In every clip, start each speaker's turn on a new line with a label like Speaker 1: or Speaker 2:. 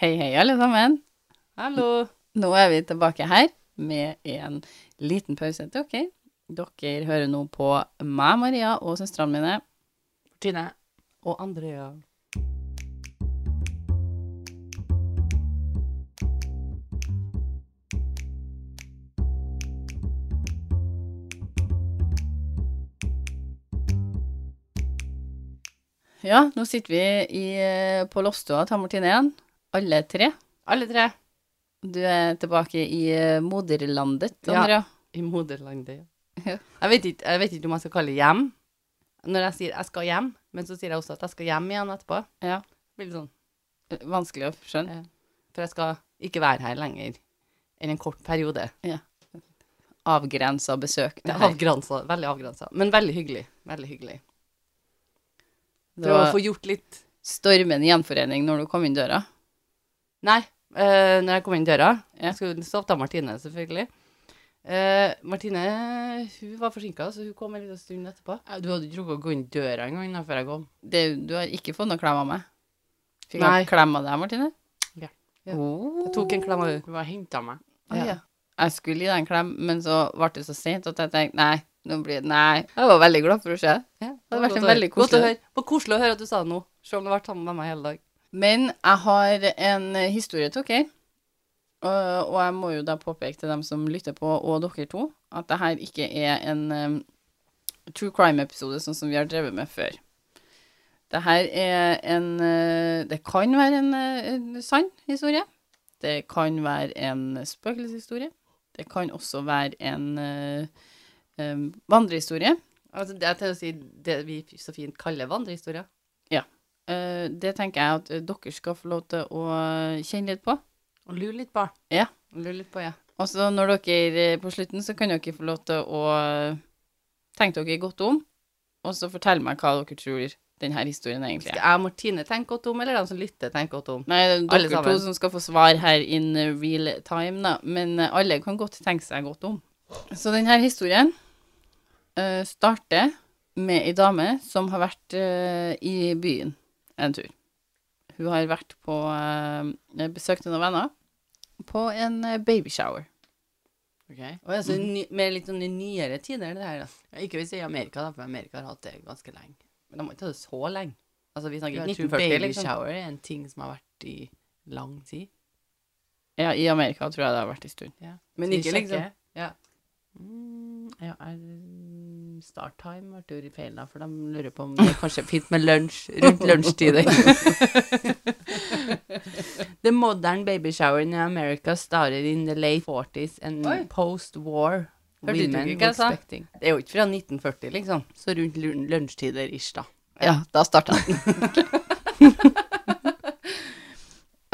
Speaker 1: Hei, hei, alle sammen. Hallo. Nå er vi tilbake her med en liten pause til dere. Dere hører nå på meg, Maria, og søstrene mine.
Speaker 2: Tine.
Speaker 1: Og Andrea. Ja, nå sitter vi i, eh, på loftstua til Martine igjen, alle tre.
Speaker 2: Alle tre.
Speaker 1: Du er tilbake i eh, moderlandet,
Speaker 2: Ja.
Speaker 1: Andrea.
Speaker 2: I moderlandet.
Speaker 1: Ja.
Speaker 2: Jeg vet, ikke, jeg vet ikke om jeg skal kalle det hjem. Når jeg sier 'jeg skal hjem', men så sier jeg også at jeg skal hjem igjen etterpå.
Speaker 1: Ja.
Speaker 2: Det Blir litt sånn.
Speaker 1: Vanskelig å skjønne.
Speaker 2: For jeg skal ikke være her lenger enn en kort periode.
Speaker 1: Avgrensa besøk.
Speaker 2: Det
Speaker 1: det
Speaker 2: er
Speaker 1: her.
Speaker 2: avgrensa. Veldig avgrensa. Men veldig hyggelig. Veldig hyggelig.
Speaker 1: Det
Speaker 2: Prøve å
Speaker 1: var
Speaker 2: få gjort litt
Speaker 1: stormende gjenforening når du kom inn døra.
Speaker 2: Nei, eh, når jeg kom inn døra
Speaker 1: Ja.
Speaker 2: Jeg skulle sovte av Martine, selvfølgelig. Eh, Martine hun var forsinka, så hun kom en liten stund etterpå. Du hadde ikke rukket å gå inn døra engang da, før jeg kom.
Speaker 1: Det, du har ikke fått noen klem av meg. Fikk
Speaker 2: Nei.
Speaker 1: jeg klem av deg, Martine?
Speaker 2: Ja. Ja.
Speaker 1: Oh.
Speaker 2: Jeg tok en klem av henne. Hun bare henta meg.
Speaker 1: Å,
Speaker 2: Ja.
Speaker 1: ja. Jeg skulle gi deg en klem, men så ble det så sent at jeg tenkte nei, nå blir det Nei. Jeg var veldig glad for å se deg.
Speaker 2: Det
Speaker 1: vært
Speaker 2: var
Speaker 1: en
Speaker 2: godt å
Speaker 1: veldig
Speaker 2: høre. Godt å
Speaker 1: koselig-
Speaker 2: høre. Det var koselig å høre at du sa det nå, selv om du har vært sammen med meg hele dag.
Speaker 1: Men jeg har en eh, historie til dere. Og- og jeg må jo da påpeke til dem som lytter på, og dere to, at det her ikke er en eh, true crime-episode sånn som vi har drevet med før. Det her er en eh, Det kan være en, eh, en sann historie. Det kan være en spøkelseshistorie. Det kan også være en eh, eh, vandrehistorie.
Speaker 2: Altså, det jeg tenker å si det vi så fint kaller vandrehistorier.
Speaker 1: Eh, det tenker jeg at eh, dere skal få lov til å kjenne litt på.
Speaker 2: Og lure litt på.
Speaker 1: Ja.
Speaker 2: Lure litt på, ja.
Speaker 1: Og så når dere eh, på slutten, så kan dere få lov til å eh, tenke dere godt om, og så fortelle meg hva dere tror denne historien egentlig
Speaker 2: Skal
Speaker 1: er.
Speaker 2: jeg og Martine tenke godt om, eller de som lytter, tenke godt om?
Speaker 1: Nei, det er
Speaker 2: Alle
Speaker 1: dere to
Speaker 2: sammen.
Speaker 1: som skal få svar her in real time, da. Men eh, alle kan godt tenke seg godt om. Så denne historien eh, starter med ei dame som har vært eh, i byen en tur. Hun har vært på eh, besøk til noen venner på en eh, babyshower.
Speaker 2: Og jeg, så ny, med litt sånn i nyere tider, det her, da. Ja, ikke hvis jeg i Amerika, da, for Amerika har hatt det ganske lenge. Men de har ikke hatt det så lenge. Altså, vi snakker
Speaker 1: Jeg tror
Speaker 2: 1940,
Speaker 1: baby
Speaker 2: liksom. Shower er en ting som har vært i lang tid.
Speaker 1: Ja, i Amerika tror jeg det har vært en stund.
Speaker 2: Men
Speaker 1: Skal vi
Speaker 2: ikke
Speaker 1: sjekke?
Speaker 2: liksom Ja. Mm, ja er- Starttime ble jo litt feil, da, for de lurer på om det kanskje er fint med lunsj rundt lunsjtider. the modern baby shower in America started in the late 40s and
Speaker 1: Oi.
Speaker 2: post-war
Speaker 1: Hørte du ikke hva
Speaker 2: women were
Speaker 1: jeg sa?
Speaker 2: expecting. Det er jo ikke fra 1940, liksom. Så rundt lun- lunsjtider ish, da.
Speaker 1: Ja, da starta den.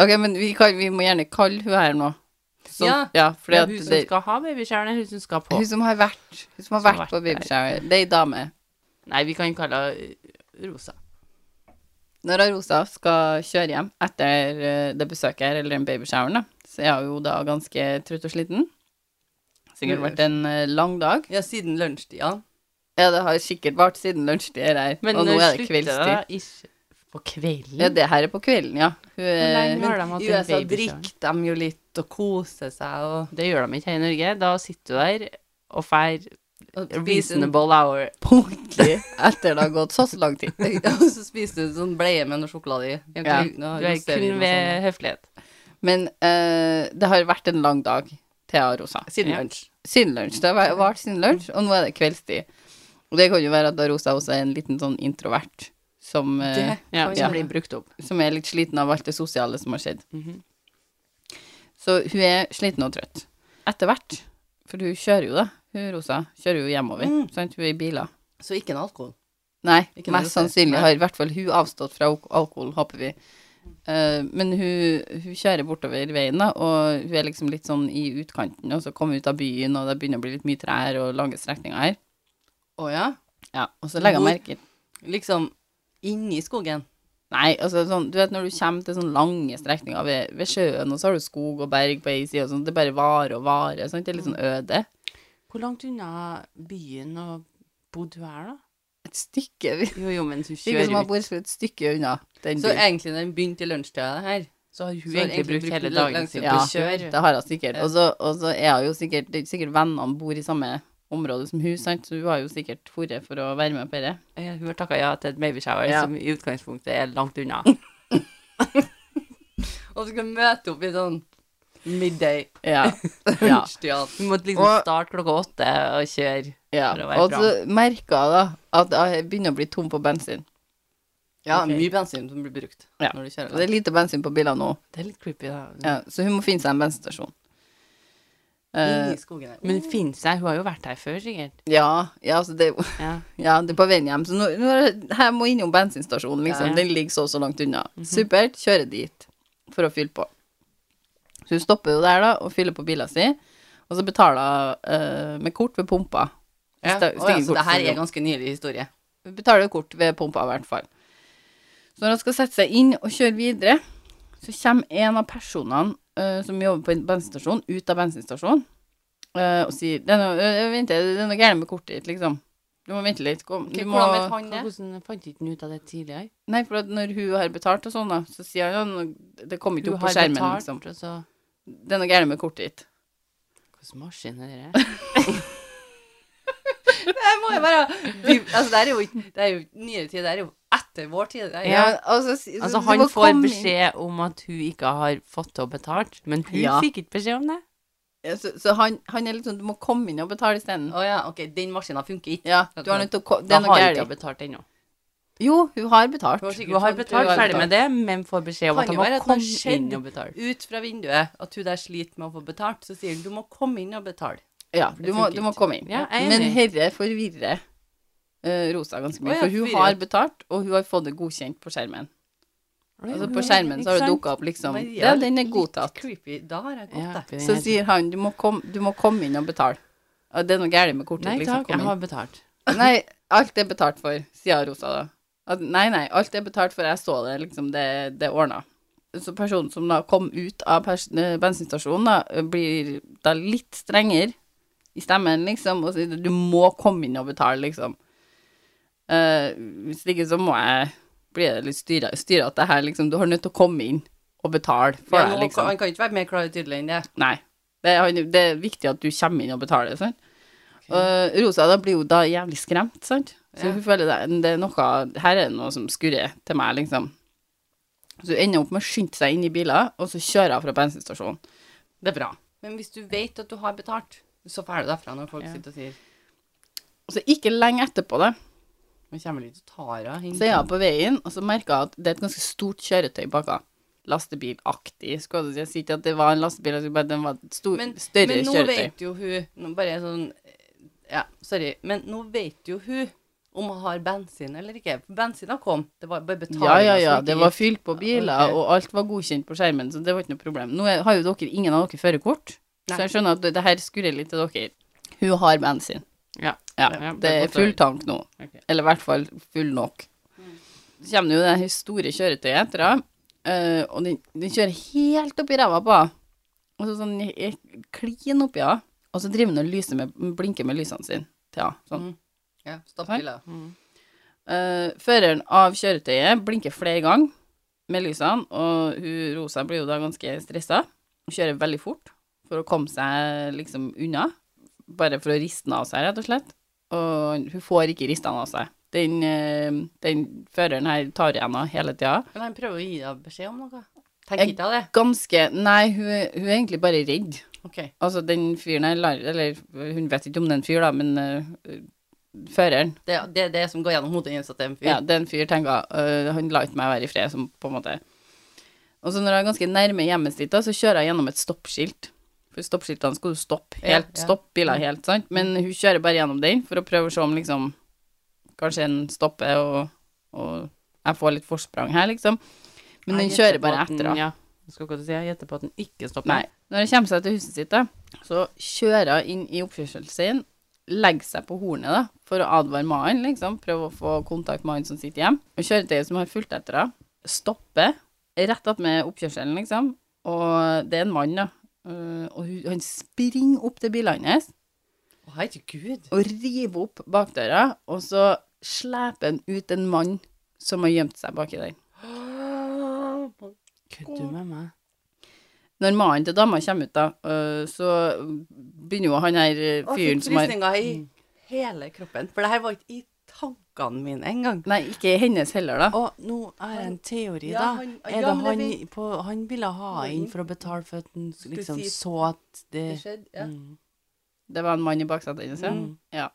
Speaker 1: ok, men vi, kan, vi må gjerne kalle hun her nå. Så,
Speaker 2: Ja,
Speaker 1: fordi
Speaker 2: det er
Speaker 1: at
Speaker 2: hun som
Speaker 1: det,
Speaker 2: skal ha babyshower, det er hun som skal på.
Speaker 1: hun som har vært, hun som har vært på babyshower, det er ei dame.
Speaker 2: Nei, vi kan kalle henne eh, Rosa.
Speaker 1: Når Rosa skal kjøre hjem etter eh, det besøket her, eller den babyshoweren, da, så er hun jo da ganske trøtt og sliten. Sikkert vært en eh, lang dag.
Speaker 2: Ja, siden lunsjtida.
Speaker 1: Ja, det har sikkert vart siden lunsjtid her,
Speaker 2: Men
Speaker 1: og nå
Speaker 2: når
Speaker 1: er det
Speaker 2: slutter
Speaker 1: kveldstid.
Speaker 2: da ikke På kvelden?
Speaker 1: Ja, det her er på kvelden, ja. Hun
Speaker 2: Hvor
Speaker 1: er
Speaker 2: lenge har de hatt
Speaker 1: I
Speaker 2: en
Speaker 1: USA
Speaker 2: babyshower?
Speaker 1: drikker
Speaker 2: de jo litt og koser seg og Det gjør de ikke her i Norge. Da sitter du der og feir reasonable hour.
Speaker 1: punktlig etter det har gått så, så lang tid.
Speaker 2: og så spiser du sånn bleie med noe sjokolade i.
Speaker 1: Ja,
Speaker 2: du er kun ved høflighet.
Speaker 1: Men eh, det har vært en lang dag, Thea og Rosa.
Speaker 2: Siden
Speaker 1: Ja.
Speaker 2: lunsj.
Speaker 1: Siden lunsj. Det har vært- vært siden lunsj, og nå er det kveldstid. Og det kan jo være at da Rosa også er en liten sånn introvert som, eh,
Speaker 2: Ja,
Speaker 1: Oi,
Speaker 2: som
Speaker 1: ja.
Speaker 2: blir liksom brukt opp.
Speaker 1: som er litt sliten av alt det sosiale som har skjedd.
Speaker 2: Mhm.
Speaker 1: Så hun er sliten og trøtt. Etter hvert, for hun kjører jo da, hun Rosa, kjører jo hjemover,
Speaker 2: Mm.
Speaker 1: sant? Hun er i biler.
Speaker 2: Så ikke en alkohol.
Speaker 1: Nei,
Speaker 2: Ikke noe
Speaker 1: mest
Speaker 2: du ser.
Speaker 1: sannsynlig
Speaker 2: Nei.
Speaker 1: har i hvert fall hun avstått fra alk- alkohol, håper vi. Eh, men hun, hun kjører bortover veien, da, og hun er liksom litt sånn i utkanten, og så kommer hun ut av byen, og det begynner å bli litt mye trær og lange strekninger her.
Speaker 2: Å ja?
Speaker 1: Ja, og så legger jeg
Speaker 2: Hvor-
Speaker 1: merke
Speaker 2: Liksom inni skogen.
Speaker 1: Nei, altså sånn, du vet når du kommer til sånne lange strekninger ved, ved sjøen, og så har du skog og berg på ei side, og sånn, det bare varer og varer, sant, det er litt sånn øde.
Speaker 2: Hvor langt unna byen og bodde du her, da?
Speaker 1: Et stykke,
Speaker 2: Jo, jo, men du
Speaker 1: ikke
Speaker 2: kjører
Speaker 1: som
Speaker 2: jo
Speaker 1: har bor et stykke unna den
Speaker 2: Så
Speaker 1: byen.
Speaker 2: egentlig den begynte i lunsjtida det her.
Speaker 3: Så har hun
Speaker 1: Så har
Speaker 3: egentlig brukt hele dagen sin
Speaker 1: ja,
Speaker 3: på å kjøre.
Speaker 1: Det har hun sikkert. Og så, og så er hun jo sikkert det er sikkert vennene bor i samme område som hun, sant? så hun har jo sikkert dratt for å være med på det.
Speaker 3: Ja, Eh, Hun har takka ja til et babyshower
Speaker 1: Ja.
Speaker 3: som i utgangspunktet er langt unna. og du skal møte opp i sånn midday
Speaker 1: Ja. ja.
Speaker 3: Du måtte liksom
Speaker 1: Og-
Speaker 3: starte klokka åtte og kjøre.
Speaker 1: ja.
Speaker 3: For å være
Speaker 1: Og så merker hun da at jeg begynner å bli tom på bensin.
Speaker 3: Ja, mye
Speaker 1: bensin.
Speaker 3: som blir brukt
Speaker 1: Ja.
Speaker 3: når du
Speaker 1: Det
Speaker 3: kjører.
Speaker 1: er lite bensin på bilene nå,
Speaker 3: Det er litt creepy, da.
Speaker 1: ja, så hun må finne seg en bensinstasjon. Eh,
Speaker 3: skogen Men det finnes det? Hun har jo vært her før, sikkert.
Speaker 1: ja, ja, altså det,
Speaker 3: Ja.
Speaker 1: ja, det er på veien hjem. Så nå, nå er det- her må innom bensinstasjonen, liksom.
Speaker 3: Ja. Mhm.
Speaker 1: Den ligger så og så langt unna. Supert, kjører dit for å fylle på. Så hun stopper jo der, da, og fyller på bilen sin. Og så betaler hun eh, med kort ved pumpa.
Speaker 3: Ja.
Speaker 1: Sta-
Speaker 3: Å, ja, så
Speaker 1: stingekort,
Speaker 3: det her
Speaker 1: sånn.
Speaker 3: er ganske nylig historie.
Speaker 1: Hun betaler kort ved pumpa, i hvert fall. Så når hun skal sette seg inn og kjøre videre, så kommer en av personene eh, som jobber på en bensinstasjon, ut av bensinstasjonen eh, og sier det er, noe, øh, vent, det er noe gærent med kortet ditt, liksom. Du må vente litt. Kom. Du må,
Speaker 3: Hvordan vet han det? Hvordan fant ikke han ut av det tidligere?
Speaker 1: nei, for at når hun har betalt og sånn, da, så sier han at det kommer ikke
Speaker 3: Hun
Speaker 1: opp på
Speaker 3: har
Speaker 1: skjermen.
Speaker 3: betalt,
Speaker 1: Liksom.
Speaker 3: og så
Speaker 1: Det er noe gærent med kortet ditt.
Speaker 3: Hvilken maskin er det?
Speaker 1: Det må jo være
Speaker 3: altså, det er jo ikke det er jo ikke nyere tid, det er jo etter vår tid. det er jo-
Speaker 1: ja, altså, si-
Speaker 3: Altså,
Speaker 1: du
Speaker 3: han
Speaker 1: må
Speaker 3: får
Speaker 1: komme inn.
Speaker 3: beskjed om at hun ikke har fått til å betale, men hun
Speaker 1: Ja.
Speaker 3: fikk ikke beskjed om det.
Speaker 1: Ja, Så, så han, han er litt sånn Du må komme inn og betale isteden.
Speaker 3: Å ja, ok, den maskinen funker ikke.
Speaker 1: Ja, du har nødt til å ko- Det
Speaker 3: Da
Speaker 1: er noe
Speaker 3: har hun ikke
Speaker 1: gærent.
Speaker 3: betalt ennå.
Speaker 1: Jo, hun har betalt.
Speaker 3: Hun har betalt, ferdig med det, men får beskjed om Kan at hun jo må være at komme det har inn skjedd. og betale.
Speaker 2: ut fra vinduet at hun der sliter med å få betalt, så sier hun du må komme inn og betale.
Speaker 1: Ja,
Speaker 3: Det
Speaker 1: du må,
Speaker 3: funker
Speaker 1: du må
Speaker 3: ikke.
Speaker 1: komme inn.
Speaker 3: Ja, jeg er
Speaker 1: Men
Speaker 3: enig.
Speaker 1: herre forvirrer eh, Rosa ganske mye.
Speaker 2: Å ja,
Speaker 1: For hun
Speaker 2: forvirret.
Speaker 1: har betalt, og hun har fått det godkjent på skjermen. Altså På skjermen så har det dukka opp liksom
Speaker 2: Maria,
Speaker 1: Ja, den er godtatt.
Speaker 2: Litt creepy. Da har jeg gått,
Speaker 3: Ja,
Speaker 2: jeg.
Speaker 1: Så sier han du må, kom, du må komme inn og betale. Og det er noe galt med kortet.
Speaker 3: Nei
Speaker 1: liksom,
Speaker 3: takk,
Speaker 1: kom
Speaker 3: jeg
Speaker 1: inn.
Speaker 3: har betalt.
Speaker 1: Nei, alt er betalt for, sier Rosa da. At, nei, nei, alt er betalt for, jeg så det, liksom, det, det ordna. Så personen som da kom ut av pers- eh, bensinstasjonen da, blir da litt strengere i stemmen, liksom, og sier du må komme inn og betale, liksom. Eh, hvis ikke så må jeg bli litt styra styra at det her, liksom, du har nødt til å komme inn og betale for
Speaker 2: Ja,
Speaker 1: det,
Speaker 2: nå kan-
Speaker 1: liksom.
Speaker 2: Han kan ikke være mer klar og tydelig enn det.
Speaker 1: Nei. Det er, det er viktig at du kommer inn og betaler, sant? Og Rosa da blir jo da jævlig skremt, sant? Så hun føler det, det er noe Her er det noe som skurrer til meg, liksom. Så hun ender opp med å skynde seg inn i biler, og så kjører hun fra bensinstasjonen. Det er bra.
Speaker 2: Men hvis du vet at du har betalt, så drar du derfra når folk
Speaker 3: Ja.
Speaker 2: sitter og sier
Speaker 1: Og så ikke lenge etterpå det,
Speaker 2: Nå kommer litt Tara inn.
Speaker 1: så er hun på veien, og så merker hun at det er et ganske stort kjøretøy bak henne. Lastebilaktig, skulle jeg si. Jeg sier ikke at det var en lastebil, jeg sier bare at den var et stor,
Speaker 2: Men,
Speaker 1: større
Speaker 2: men nå
Speaker 1: kjøretøy.
Speaker 2: vet jo hun nå Bare sånn Ja, sorry. Men nå vet jo hun om hun har bensin eller ikke. Bensina kom. Det var bare betalinga
Speaker 1: Ja, ja, ja.
Speaker 2: som ikke
Speaker 1: Det var
Speaker 2: gikk.
Speaker 1: fylt på biler,
Speaker 2: Ok.
Speaker 1: og alt var godkjent på skjermen, så det var ikke noe problem. Nå er- har jo dere, ingen av dere førerkort, så
Speaker 2: Nei.
Speaker 1: jeg skjønner at det, det her skurrer litt til dere. Hun har bensin.
Speaker 3: Ja.
Speaker 1: Ja,
Speaker 3: Ja,
Speaker 1: det er
Speaker 3: det er godt å
Speaker 1: full
Speaker 3: høre.
Speaker 1: tank nå.
Speaker 3: Ok.
Speaker 1: Eller i hvert fall full nok. Så kommer det jo det her store kjøretøyet etter henne, eh, og den, den kjører helt oppi ræva på henne. Og så sånn i- i- klin oppi henne, og så driver hun og lyser med, blinker med lysene sine til henne. Sånn.
Speaker 2: ja, Stopp bilen.
Speaker 1: Eh, føreren av kjøretøyet blinker flere ganger med lysene, og hun Rosa blir jo da ganske stressa. Hun kjører veldig fort for å komme seg liksom unna, bare for å riste den av seg, rett og slett. Og hun får ikke rista den av seg. Den, eh, den føreren her tar igjen henne hele tida.
Speaker 2: Men han prøver å gi deg beskjed om noe. Tenk
Speaker 1: Jeg-
Speaker 2: ikke av det.
Speaker 1: Ganske Nei, hun, er- hun er egentlig bare redd.
Speaker 2: Ok.
Speaker 1: Altså, den fyren her lar- Eller hun vet ikke om det er en fyr, da, men eh, føreren
Speaker 2: Det er det, er det som går gjennom hodet hennes at det er en fyr.
Speaker 1: Ja, det er en fyr tenker «Øh, Han la ikke meg være i fred, som på en måte Og så når jeg er ganske nærme hjemmet sitt, da, så kjører jeg gjennom et stoppskilt. For stoppskiltene skal du stoppe helt,
Speaker 2: Ja, ja.
Speaker 1: stopp biler helt, sant. Men hun kjører bare gjennom den for å prøve å se om liksom Kanskje en stopper, og, og jeg får litt forsprang her, liksom. Men den
Speaker 3: Jeg
Speaker 1: kjører
Speaker 3: gjetter på
Speaker 1: bare
Speaker 3: at den-
Speaker 1: etter henne.
Speaker 3: Ja, jeg skal ikke til å si, jeg gjetter på at den ikke stopper.
Speaker 1: Nei. Når hun kommer seg til huset sitt, da, så kjører hun inn i oppkjørselen sin, legger seg på hornet da, for å advare mannen, liksom, prøve å få kontakt med han som sitter hjemme. Og kjøretøyet som har fulgt etter henne, stopper rett attmed oppkjørselen, liksom, og det er en mann, da. Eh, og hun, han springer opp til bilene hennes
Speaker 2: Å, herregud.
Speaker 1: og river opp bakdøra, og så sleper han ut en mann som har gjemt seg baki der.
Speaker 3: Kødder du med meg?
Speaker 1: Når mannen til dama kommer ut, da, øh, så begynner jo han her øh,
Speaker 2: Og
Speaker 1: fyren
Speaker 2: fikk
Speaker 1: som har
Speaker 2: frysninger i hele kroppen. For det her var ikke i tankene mine engang.
Speaker 1: Nei, ikke hennes heller, da.
Speaker 3: Og nå er det en teori,
Speaker 2: Ja,
Speaker 3: da.
Speaker 2: han-
Speaker 3: er
Speaker 2: ja,
Speaker 3: det
Speaker 2: men det
Speaker 3: han,
Speaker 2: vi-
Speaker 3: på, han ville ha inn for å betale for at han liksom
Speaker 2: si-
Speaker 3: så at
Speaker 2: Det
Speaker 3: det
Speaker 2: skjedde, ja.
Speaker 3: mm.
Speaker 1: Det var en mann i baksetet hennes, ja.
Speaker 3: Mm.
Speaker 1: ja.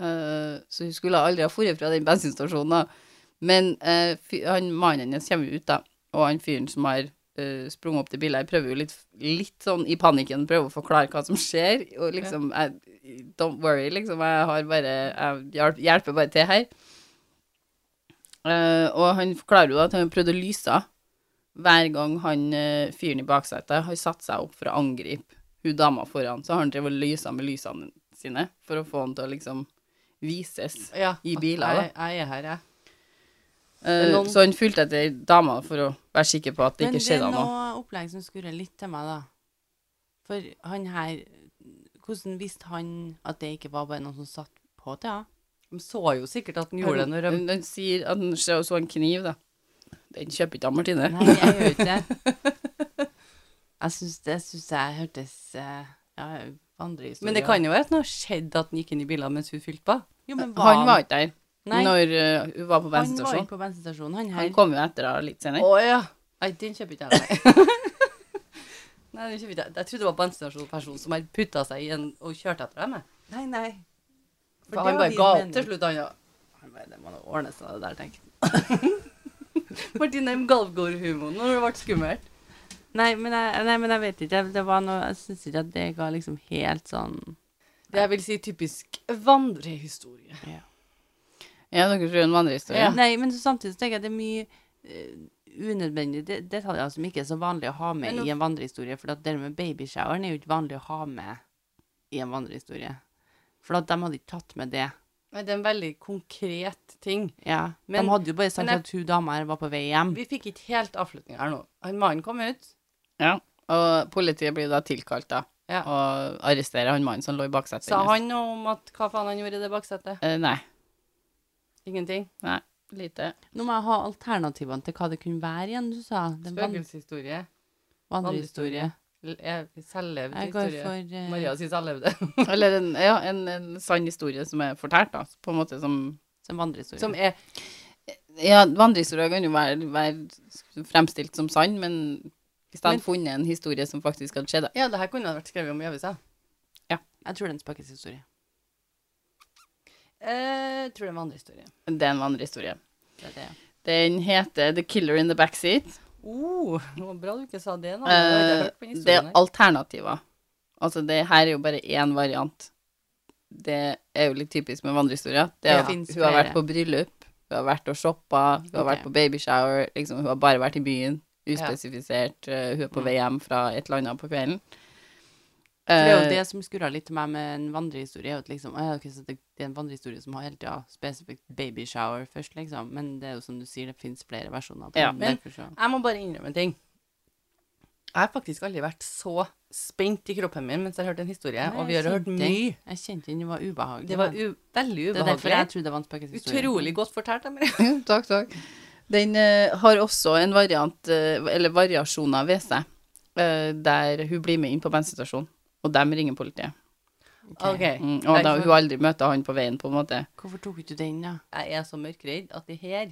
Speaker 1: Eh, så hun skulle aldri ha dratt fra den bensinstasjonen, da. Men eh, fy- han, mannen hennes kommer ut, da, og han fyren som har eh, sprunget opp til bilen, jeg prøver jo litt, litt sånn i panikken, prøver å forklare hva som skjer, og liksom, jeg, don't worry, liksom, jeg har bare, jeg hjelp, hjelper bare til her. Eh, og han forklarer jo at han prøvde å lyse av hver gang han eh, fyren i baksetet har satt seg opp for å angripe hun dama foran, så har han drevet og lysa med lysene sine for å få han til å liksom vises.
Speaker 2: Ja,
Speaker 1: I biler,
Speaker 2: jeg, jeg er her, jeg.
Speaker 1: Eh,
Speaker 2: noen-
Speaker 1: Så han fulgte etter dama for å være sikker på at det
Speaker 3: Men
Speaker 1: ikke
Speaker 3: det
Speaker 1: skjedde
Speaker 3: er
Speaker 1: noe.
Speaker 3: noe opplegg som skurrer litt til meg, da. For han her Hvordan visste han at det ikke var bare noen som satt på til henne?
Speaker 2: De så jo sikkert at den gjorde det når de
Speaker 1: Han, han sier at han ser- så en kniv, da. Den kjøper ikke han, Martine.
Speaker 3: Nei, jeg gjør ikke det. Jeg syns det synes jeg hørtes eh, ja, andre historier.
Speaker 2: Men det kan jo være at det har skjedd at den gikk inn i bilen mens hun fylte på.
Speaker 3: jo men var
Speaker 1: Han var ikke der
Speaker 3: Nei,
Speaker 1: når eh, hun var på
Speaker 3: han var
Speaker 1: bensinstasjonen.
Speaker 3: ikke på bensinstasjonen. Han
Speaker 1: Han
Speaker 3: her
Speaker 1: kom jo etter henne litt
Speaker 2: Å
Speaker 1: senere.
Speaker 2: ja. Nei, den kjøper ikke jeg, nei. nei, den kjøper ikke jeg. Jeg trodde det var bensinstasjonspersonen som hadde putta seg i en og kjørte etter dem. jeg.
Speaker 3: Nei, nei.
Speaker 2: For han bare ga opp til slutt, han. ja. Han bare, Det må nå ordne seg, det der, tenkte han. Martine Galvgaard-humoren når det ble skummelt.
Speaker 3: Nei men, jeg, nei, men jeg vet ikke. Det var noe, jeg syns ikke at det ga liksom helt sånn
Speaker 2: Det jeg vil si typisk vandrehistorie.
Speaker 1: Ja, dere tror en vandrehistorie?
Speaker 2: Ja.
Speaker 3: Nei, men så samtidig så tenker jeg at det er mye eh, unødvendige det- detaljer som ikke er så vanlig å ha med
Speaker 2: Men nå-
Speaker 3: i en vandrehistorie. For at det med babyshoweren er jo ikke vanlig å ha med i en vandrehistorie. For at de hadde ikke tatt med det.
Speaker 2: Men det er en veldig konkret ting.
Speaker 3: Ja,
Speaker 2: Men-
Speaker 3: De hadde jo bare sagt
Speaker 2: men jeg-
Speaker 3: at hun dama her var på vei hjem.
Speaker 2: Vi fikk ikke helt avslutning her nå. Han Mannen kom ut.
Speaker 1: Ja. Og politiet blir da tilkalt, da.
Speaker 2: Ja.
Speaker 1: Og arresterer han mannen som lå i baksetet.
Speaker 2: Sa
Speaker 1: hennes.
Speaker 2: han noe om at hva faen han gjorde i det baksetet?
Speaker 1: Eh, nei.
Speaker 2: Ingenting.
Speaker 1: Nei. Lite.
Speaker 3: Nå må jeg ha alternativene til hva det kunne være igjen, du sa. Den van-
Speaker 2: Spøkelseshistorie.
Speaker 3: vandrehistorie.
Speaker 2: L- er- Selvlevd
Speaker 3: Jeg går
Speaker 2: historie.
Speaker 3: for eh,
Speaker 2: Maria sier selvlevde.
Speaker 1: Eller en, ja, en, en sann historie som er fortalt, da. På en måte som
Speaker 3: som vandrehistorie.
Speaker 2: Som er
Speaker 1: Ja, vandrehistorier kan jo være, være fremstilt som sann, men hvis de
Speaker 2: Men-
Speaker 1: hadde funnet en historie som faktisk hadde skjedd da.
Speaker 2: Ja, det her kunne ha vært skrevet om i avisa.
Speaker 3: Jeg tror det er en spøkelseshistorie.
Speaker 2: Eh, tror det var andre historie.
Speaker 1: Det er en vandrehistorie.
Speaker 3: Det er det.
Speaker 1: Den heter The Killer in the Backseat.
Speaker 2: Oh, det var bra du ikke sa det nå.
Speaker 1: Eh, det er alternativer. Altså, det her er jo bare én variant. Det er jo litt typisk med vandrehistorier. Det er
Speaker 3: Det
Speaker 1: at hun
Speaker 3: finnes
Speaker 1: har
Speaker 3: flere.
Speaker 1: vært på bryllup, hun har vært og shoppa, hun har
Speaker 3: Ok.
Speaker 1: vært på babyshower, liksom, hun har bare vært i byen,
Speaker 2: Ja.
Speaker 1: uspesifisert, eh, hun er
Speaker 3: Mm.
Speaker 1: på vei hjem fra et eller annet på kvelden.
Speaker 3: For det er jo
Speaker 1: Eh,
Speaker 3: det som skurra litt til meg med en vandrehistorie. er jo At liksom, «Å ja, ok, så det, det er en vandrehistorie som har hele tida spesifikt babyshower først, liksom. Men det er jo som du sier, det fins flere versjoner. på
Speaker 1: Ja,
Speaker 3: den,
Speaker 2: men-
Speaker 3: derfor så-
Speaker 2: Jeg må bare innrømme en ting. Jeg har faktisk aldri vært så spent i kroppen min mens jeg har hørt en historie.
Speaker 3: Nei,
Speaker 2: og vi har
Speaker 3: jeg
Speaker 2: hørt
Speaker 3: kjente-
Speaker 2: mye.
Speaker 3: Jeg kjente den var ubehagelig.
Speaker 2: Det var u veldig
Speaker 3: det er derfor jeg
Speaker 2: ubehagelig.
Speaker 3: trodde det var en spøkelseshistorie.
Speaker 2: Utrolig godt fortalt. Amalie.
Speaker 1: takk, takk. Den eh, har også en variant, eh, eller variasjoner ved seg, eh, der hun blir med inn på bensinstasjonen, og dem ringer politiet.
Speaker 3: Ok.
Speaker 2: Ok.
Speaker 1: Mm,
Speaker 2: Nei,
Speaker 1: og da
Speaker 2: så-
Speaker 1: hun aldri møter han på veien, på en måte.
Speaker 3: Hvorfor tok ikke du den, da?
Speaker 2: Jeg er så mørkredd at det her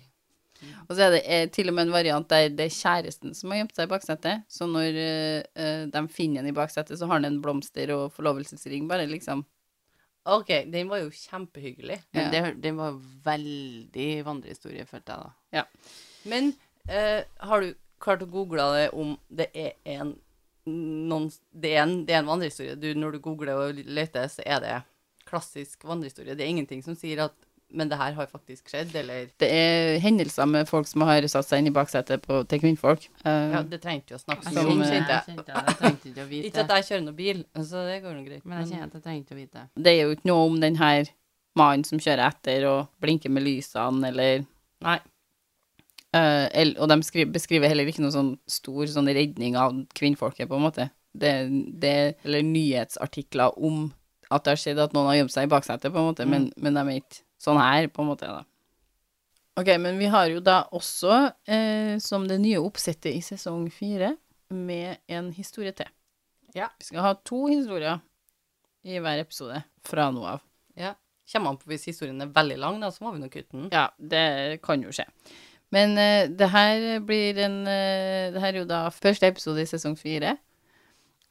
Speaker 1: Og så er det eh, til og med en variant der det er kjæresten som har gjemt seg i baksetet. Så når eh, eh, de finner han i baksetet, så har han en blomster og forlovelsesring, bare liksom.
Speaker 2: OK, den var jo kjempehyggelig.
Speaker 3: Men
Speaker 1: Ja.
Speaker 3: det, den var veldig vandrehistorie, følte jeg da.
Speaker 2: Men eh, har du klart å google det om det er en noen, det, er en, det er en vandrehistorie. Du, når du googler og leter, så er det klassisk vandrehistorie. Det er ingenting som sier at Men det her har faktisk skjedd, eller
Speaker 1: Det er hendelser med folk som har satt seg inn i baksetet på, til kvinnfolk. Eh,
Speaker 2: Ja, det trengte vi å snakke
Speaker 1: Jeg
Speaker 2: om.
Speaker 3: eh,
Speaker 1: kjenner-
Speaker 2: Altså, kjente jeg.
Speaker 3: jeg, kjente, Altså, jeg trengte ikke å vite
Speaker 2: Ikke at jeg kjører noe bil, så det går nå greit.
Speaker 3: Men jeg kjenner at jeg trengte å vite.
Speaker 1: Det er jo ikke noe om den her mannen som kjører etter og blinker med lysene, eller
Speaker 2: Nei.
Speaker 1: Eh, el- og de skri- beskriver heller ikke noen sånn stor sånn redning av kvinnfolket, på en måte. Det, det, eller nyhetsartikler om at det har skjedd at noen har gjemt seg i baksetet, på en måte, men, men de er ikke sånn her, på en måte. da. Ok, men vi har jo da også, eh, som det nye oppsettet i sesong fire, med en historie til.
Speaker 3: Ja.
Speaker 1: Vi skal ha to historier i hver episode fra nå av.
Speaker 2: Kommer an på hvis historien er veldig lang, da, så må vi nå kutte den.
Speaker 1: Ja, det kan jo skje. Men eh, det her blir en eh, Det her er jo da første episode i sesong fire.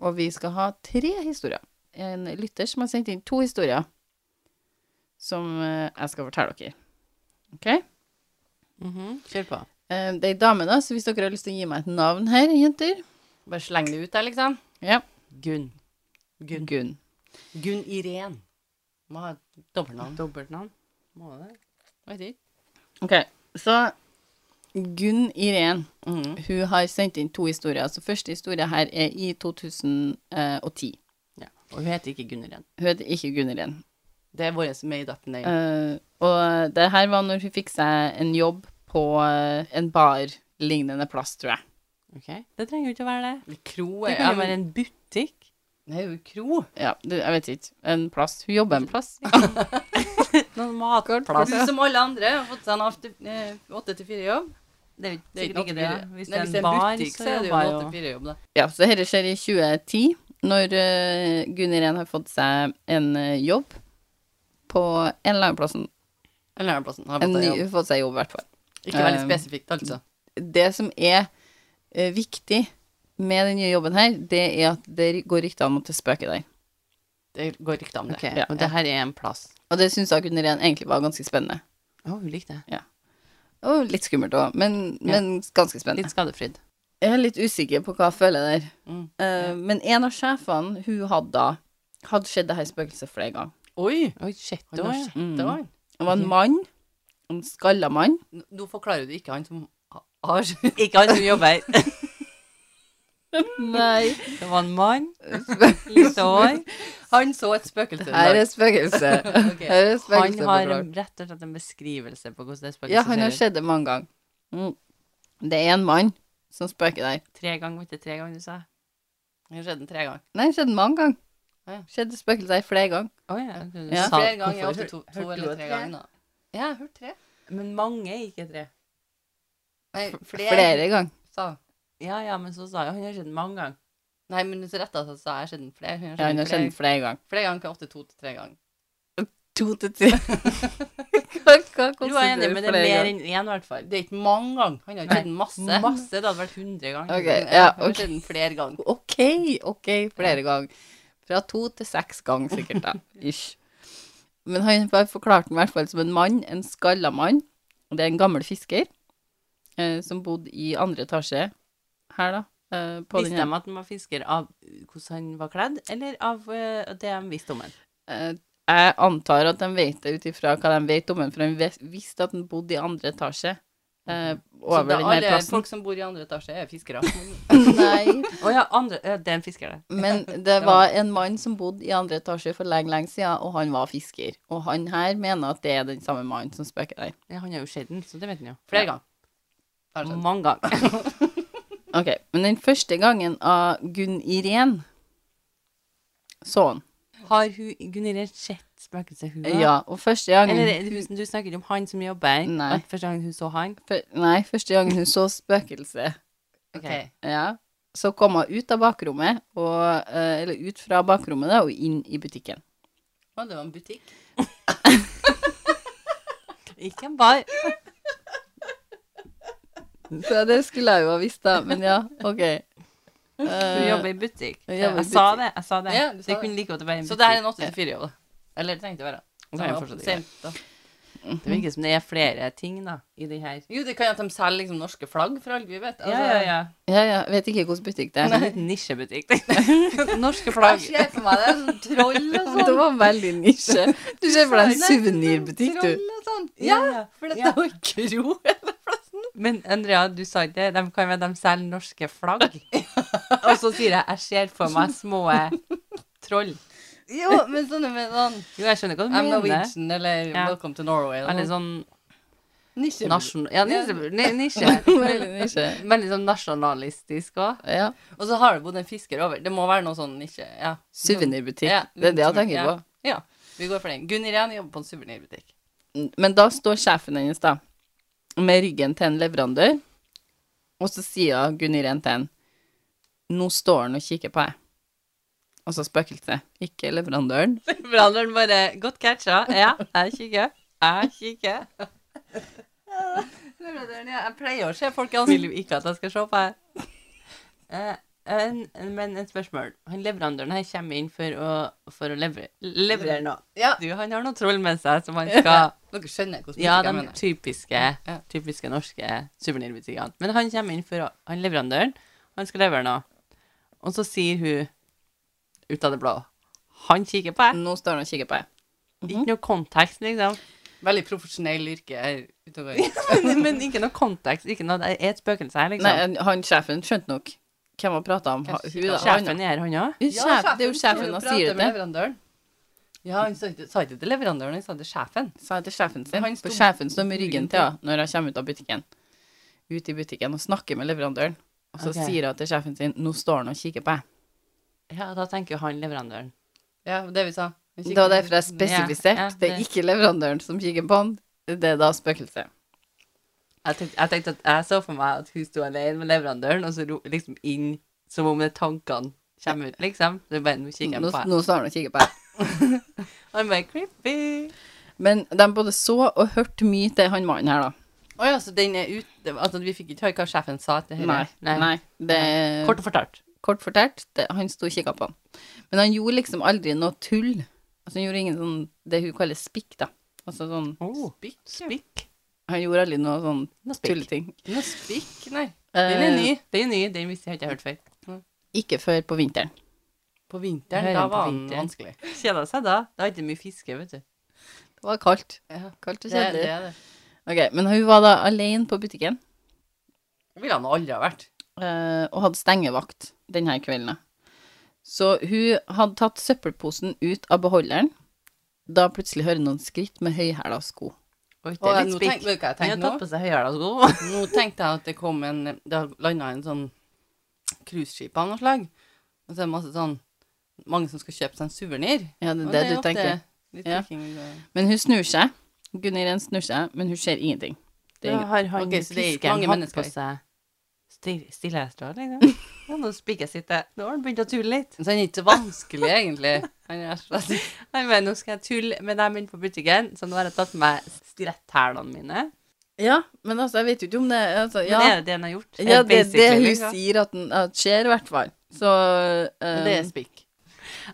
Speaker 1: Og vi skal ha tre historier. En lytter som har sendt inn to historier som eh, jeg skal fortelle dere. OK?
Speaker 2: Mm-hmm. Kjør på.
Speaker 1: Eh, Det er ei dame, da, så hvis dere har lyst til å gi meg et navn her, jenter
Speaker 2: Bare sleng det ut der, liksom.
Speaker 1: Ja.
Speaker 2: Gunn. Gunn.
Speaker 1: Gunn.
Speaker 2: Gunn Irén. Må ha et dobbeltnavn.
Speaker 3: Dobbeltnavn. Må det? Vet ikke.
Speaker 1: Ok, så Gunn Irén,
Speaker 2: Mm.
Speaker 1: hun har sendt inn to historier. Så første historie her er i eh, 2010.
Speaker 2: Ja. Og hun heter ikke Gunn Irén.
Speaker 1: Hun heter ikke Gunn Irén.
Speaker 2: Det er vår made up name.
Speaker 1: Eh, og det her var når hun fikk seg en jobb på eh, en bar-lignende plass, tror jeg.
Speaker 3: Ok. Det trenger jo ikke å være det.
Speaker 2: Kro
Speaker 3: Det
Speaker 2: er
Speaker 3: kan jo være en butikk.
Speaker 2: Nei, hun er kro.
Speaker 1: Ja, det- jeg vet ikke. En plass. Hun jobber en plass.
Speaker 3: Noen matplass.
Speaker 2: Hun som alle andre har fått seg en after- eh, åtte til fire-jobb.
Speaker 3: Det er
Speaker 2: Det
Speaker 3: jo
Speaker 2: er
Speaker 3: sikkert
Speaker 2: ikke
Speaker 3: ikke
Speaker 2: noe
Speaker 3: det.
Speaker 2: bedre.
Speaker 3: Hvis
Speaker 2: Nei,
Speaker 3: det er en bar,
Speaker 2: butikk,
Speaker 3: så er det jo
Speaker 2: en åtte
Speaker 3: bare
Speaker 2: til fire-jobb, da.
Speaker 1: Ja, så dette skjer i 2010, når eh, Gunn Irén har fått seg en eh, jobb på en eller annen plass. En
Speaker 2: En læreplassen har fått
Speaker 1: ny,
Speaker 2: seg
Speaker 1: hun
Speaker 2: jobb.
Speaker 1: har fått seg jobb, i hvert fall.
Speaker 2: Ikke veldig
Speaker 1: Um,
Speaker 2: spesifikt, altså.
Speaker 1: det som er eh, viktig med den nye jobben her, det er at det går rykter om at det spøker der.
Speaker 2: Det går rykter om det.
Speaker 3: Ok,
Speaker 1: Ja,
Speaker 3: Og det her er en plass.
Speaker 1: Og det syns jeg Gunn Irén egentlig var ganske spennende.
Speaker 3: Å, hun likte det.
Speaker 1: Og litt skummelt òg, men,
Speaker 3: Ja.
Speaker 1: men ganske spennende.
Speaker 3: Litt skadefryd.
Speaker 1: Jeg er litt usikker på hva jeg føler der.
Speaker 2: Mm.
Speaker 1: Eh, Men en av sjefene hun hadde da, hadde sett det her spøkelset flere ganger.
Speaker 2: Oi!
Speaker 3: Oi, shit,
Speaker 2: Det var,
Speaker 3: ja.
Speaker 2: det var.
Speaker 1: Det var en mann, en skalla mann.
Speaker 2: N- Nå forklarer du ikke han som ha- har Ikke han som jobber her.
Speaker 1: Nei.
Speaker 3: Det var en mann. Lite hår.
Speaker 2: sånn. Han så et spøkelse. en
Speaker 1: Her
Speaker 2: dag.
Speaker 1: er spøkelset.
Speaker 2: Ok.
Speaker 1: Her er
Speaker 3: Han
Speaker 1: spøkelset
Speaker 3: har
Speaker 1: på
Speaker 3: en- rett og slett en beskrivelse på hvordan det spøkelset
Speaker 1: Ja, han har
Speaker 3: ser ut.
Speaker 1: sett det mange ganger. Mm. Det er en mann som spøker der.
Speaker 3: Tre ganger, vet du, tre ganger du sa.
Speaker 2: Han skjedde den tre ganger.
Speaker 1: Nei, det skjedde mange ganger.
Speaker 2: Ja.
Speaker 1: Skjedde spøkelser her flere ganger.
Speaker 3: Å ja. du
Speaker 1: Ja.
Speaker 3: sa-
Speaker 2: Flere ganger,
Speaker 3: hvorfor-
Speaker 2: ofte to, to
Speaker 3: hørte du
Speaker 2: eller tre
Speaker 3: et tre?
Speaker 2: ganger. Da. Ja, jeg hørte tre.
Speaker 3: Men mange er ikke tre.
Speaker 2: Nei,
Speaker 1: Flere, ganger.
Speaker 2: sa hun.
Speaker 3: Ja, ja, men så sa jeg, han har sett den mange ganger.
Speaker 2: Nei, men så retta seg, sa jeg skjedde den flere. Hun
Speaker 1: Ja, han har
Speaker 2: skjedde
Speaker 1: skjedd
Speaker 2: den
Speaker 1: den flere ganger.
Speaker 2: flere, flere ganger til ofte to til tre ganger.
Speaker 1: To til tre. hva hva
Speaker 3: Du var enig,
Speaker 1: konstituerer
Speaker 3: men det
Speaker 1: flere
Speaker 3: er mer
Speaker 1: ganger?
Speaker 3: enn én, i hvert fall.
Speaker 2: Det er ikke mange ganger. Han har
Speaker 3: Nei,
Speaker 2: skjedd den masse.
Speaker 3: Masse, det hadde vært 100 ganger.
Speaker 1: Ok,
Speaker 2: Men
Speaker 1: ja,
Speaker 2: Han har
Speaker 1: ok.
Speaker 2: skjedd den flere ganger.
Speaker 1: Ok, ok, flere ganger. Fra to til seks ganger sikkert, da. Ish. Men han har forklart den i hvert fall som en mann, en skalla mann. Og det er en gammel fisker eh, som bodde i andre etasje her, da. Eh, på den
Speaker 3: Visste de at han var fisker av hvordan han var kledd, eller av eh, det de visste om han?
Speaker 1: Eh, Jeg antar at de vet det ut ifra hva de vet om den, for de vis- visste at den bodde i andre etasje. Eh,
Speaker 2: Så
Speaker 1: over
Speaker 2: da
Speaker 1: den her
Speaker 2: alle
Speaker 1: plassen.
Speaker 2: folk som bor i andre etasje, er fiskere.
Speaker 1: Nei.
Speaker 3: Å ja, andre, ja, det er en fisker, det.
Speaker 1: Men det var en mann som bodde i andre etasje for lenge, lenge siden, og han var fisker. Og han her mener at det er den samme mannen som spøker der.
Speaker 3: Ja, han har jo sett den, så det vet han jo.
Speaker 2: Flere ganger. Har han skjedd.
Speaker 3: Mange ganger.
Speaker 1: Ok, men den første gangen av Gunn Irén så han.
Speaker 3: Har hun Gunnhild sett spøkelset, hun? da?
Speaker 1: Ja, og første gangen
Speaker 3: Eller er det hun, du snakker om han som jobber?
Speaker 1: Nei.
Speaker 3: At første gang hun så han?
Speaker 1: fø- Nei, første gangen hun så spøkelset.
Speaker 2: Ok.
Speaker 1: Ja. Så kom hun ut av bakrommet, og, eh, eller ut fra bakrommet da, og inn i butikken.
Speaker 2: Å, det var en butikk.
Speaker 3: Ikke en bar.
Speaker 1: Så det skulle jeg jo ha visst, da. Men ja, OK.
Speaker 3: Hun
Speaker 1: Eh,
Speaker 3: jobber i butikk.
Speaker 1: Hun jobber i
Speaker 3: Jeg sa det. jeg sa Det
Speaker 2: Ja, du sa
Speaker 3: Det
Speaker 2: det.
Speaker 3: kunne like godt være en
Speaker 2: Så det her er
Speaker 3: butikk.
Speaker 2: en 8-4-jobb, da. Eller det trengte å være.
Speaker 3: Og så er det fortsatt ikke.
Speaker 2: Sent, da.
Speaker 3: Det virker som det er flere ting da, i den her.
Speaker 2: Jo, det kan jo at de Altså, selger liksom norske flagg, for alt vi vet.
Speaker 3: Ja, ja, ja.
Speaker 1: ja, ja, vet ikke hvilken butikk det
Speaker 3: Det er en
Speaker 1: er. sånn
Speaker 3: liten nisjebutikk. Norske flagg.
Speaker 2: Jeg ser for meg det, sånn troll og sånn.
Speaker 1: Det var veldig nisje. Du ser for deg en suvenirbutikk, du.
Speaker 2: Troll og sånn. Ja,
Speaker 3: Ja, ja.
Speaker 2: for dette
Speaker 3: Ja.
Speaker 2: er jo kro hele plassen.
Speaker 3: Men Andrea, du sa ikke det. De kan være de selger norske flagg. Og så sier jeg jeg ser for meg små troll.
Speaker 2: Jo, men sånne med sånn
Speaker 3: Jo, jeg skjønner hva du
Speaker 2: I'm
Speaker 3: mener.
Speaker 2: Norwegian eller
Speaker 3: Ja.
Speaker 2: Welcome to Norway.
Speaker 3: Veldig sånn
Speaker 2: Nisje.
Speaker 3: nasjon... Ja, nisje. ni- nisje.
Speaker 1: Veldig nisje.
Speaker 3: Veldig sånn nasjonalistisk òg.
Speaker 1: Ja.
Speaker 2: Og så har det bodd en fisker over. Det må være noe sånn nisje. Ja. Ja,
Speaker 1: Suvenirbutikk. Det er det jeg tenker på.
Speaker 2: Ja. Vi går for den. Gunn Irén jobber på en suvenirbutikk.
Speaker 1: Men da står sjefen hennes, da. med ryggen til en leverandør, og så sier hun Gunn Irén til ham Nå står han og kikker på deg. Altså spøkelset, ikke leverandøren.
Speaker 3: Leverandøren bare Godt catcha. Ja, jeg kikker. Jeg kikker. Leverandøren, ja. Jeg pleier å se folk, han vil jo ikke at jeg skal se på her. Eh, en, men et spørsmål. Han leverandøren her kommer inn for å, for å lever, leverere noe.
Speaker 2: Ja.
Speaker 3: Du, han har noe troll med seg som han skal
Speaker 2: Dere skjønner hvordan
Speaker 3: Ja,
Speaker 2: politikere
Speaker 3: de
Speaker 2: mener.
Speaker 3: typiske, typiske norske suvenirbutikkene. Men han kommer inn for å, han leverandøren, han skal levere noe. Og så sier hun ut av det blå Han kikker på deg.
Speaker 1: Nå står han og kikker på deg.
Speaker 3: Ikke noe kontekst, liksom.
Speaker 2: Veldig profesjonell yrke her ute og går.
Speaker 3: Men, men ikke noe kontekst. Ikke noe, det er et spøkelse her, liksom.
Speaker 1: Nei, han sjefen skjønte nok hvem hun prata om. Ha- Hun, da. Han,
Speaker 3: Sjefen er her, han òg.
Speaker 1: sjef, det er jo sjefen han sier det til.
Speaker 2: til. Ja, han sa ikke sa ikke til leverandøren, han sa til sjefen.
Speaker 1: Sa jeg til sjefen sin.
Speaker 2: Han sto-
Speaker 1: For sjefen står med ryggen til henne når hun kommer ut av butikken. Ut i butikken og snakker med leverandøren. Og så
Speaker 3: Ok.
Speaker 1: sier hun til sjefen sin Nå står han og kikker på deg.
Speaker 3: Ja, da tenker jo han leverandøren.
Speaker 2: Ja, det vi sa. Han
Speaker 1: Det var
Speaker 2: kikker-
Speaker 1: derfor jeg spesifiserte.
Speaker 3: Ja, ja,
Speaker 1: det. er
Speaker 3: det-
Speaker 1: ikke leverandøren som kikker på han. Det er da spøkelset.
Speaker 3: Jeg tenkte, jeg tenkte at jeg så for meg at hun sto alene med leverandøren, og så ro, liksom inn som om det tankene kommer ut, liksom. Det er bare nå kikker
Speaker 1: Nå,
Speaker 3: han på deg.
Speaker 1: nå står han og kikker på deg.
Speaker 3: Han bare creepy.
Speaker 1: Men de både så og hørte mye til han mannen her, da.
Speaker 2: Å ja, så den er ut... det var- Altså, vi fikk ikke høre hva sjefen sa til henne.
Speaker 1: Nei. nei. det er kort,
Speaker 3: Kort fortalt.
Speaker 1: fortalt, det, han sto og kikka på han. Men han gjorde liksom aldri noe tull. Altså, han gjorde ingen sånn det hun kaller spikk, da. Altså sånn
Speaker 3: spikk. Oh. Spikk.
Speaker 1: Han gjorde aldri noe sånn
Speaker 3: Noe spikk.
Speaker 1: tulleting.
Speaker 2: Noe spikk, nei.
Speaker 3: Den er
Speaker 1: Eh,
Speaker 3: ny. Den er ny. Den visste jeg ikke jeg hørte før.
Speaker 1: Ikke før på vinteren.
Speaker 2: På vinteren,
Speaker 3: Hører
Speaker 2: da
Speaker 3: han på
Speaker 2: var den
Speaker 3: vinteren.
Speaker 2: vanskelig.
Speaker 3: Kjeda seg da. Det var ikke mye fiske, vet du.
Speaker 1: Det var kaldt.
Speaker 2: Ja.
Speaker 1: Kaldt og
Speaker 2: Det, det,
Speaker 1: kjedelig.
Speaker 2: er det.
Speaker 1: Ok, men hun var da alene på butikken
Speaker 2: ville han aldri ha vært.
Speaker 1: eh, og hadde stengevakt denne kvelden. da. Så hun hadde tatt søppelposen ut av beholderen. Da plutselig hører noen skritt med høyhæla sko.
Speaker 3: Oi, det
Speaker 2: Og
Speaker 3: er
Speaker 2: jeg-
Speaker 3: litt
Speaker 2: nå
Speaker 3: spikk.
Speaker 2: tenk- vet du hva jeg tenker
Speaker 3: Han har
Speaker 2: nå?
Speaker 3: tatt på seg høyhæla sko.
Speaker 2: Nå tenkte jeg at det kom en Det har landa en sånn cruiseskip av noe slag. Og så er det masse sånn Mange som skal kjøpe seg en suvenir.
Speaker 1: Ja, det er det du tenker.
Speaker 2: Litt
Speaker 1: Ja.
Speaker 2: picking, eh.
Speaker 1: Men hun snur seg. Gunnhild Ren snur seg, men hun ser ingenting. Det er
Speaker 3: Da
Speaker 1: ingen.
Speaker 3: har han
Speaker 2: Ok, så det er ikke
Speaker 3: piskeren
Speaker 2: mange
Speaker 3: hatt
Speaker 2: mennesker.
Speaker 3: på seg stil- stillestål, liksom. Ja, nå spikker jeg sitt der. Nå har han begynt å tulle litt.
Speaker 2: Så han er ikke så vanskelig, egentlig. Han er rett og slett
Speaker 3: Nei, men nå skal jeg tulle med dem inne på butikken, så nå har jeg tatt med meg stiletthælene mine.
Speaker 1: Ja, men altså, jeg vet jo ikke om det altså,
Speaker 3: Men
Speaker 1: Ja,
Speaker 3: det er jo det han har gjort.
Speaker 1: ja det, det
Speaker 3: Basically,
Speaker 1: hun
Speaker 3: liksom.
Speaker 1: sier at, den, at skjer, i hvert fall. Så eh,
Speaker 2: Det er spikk.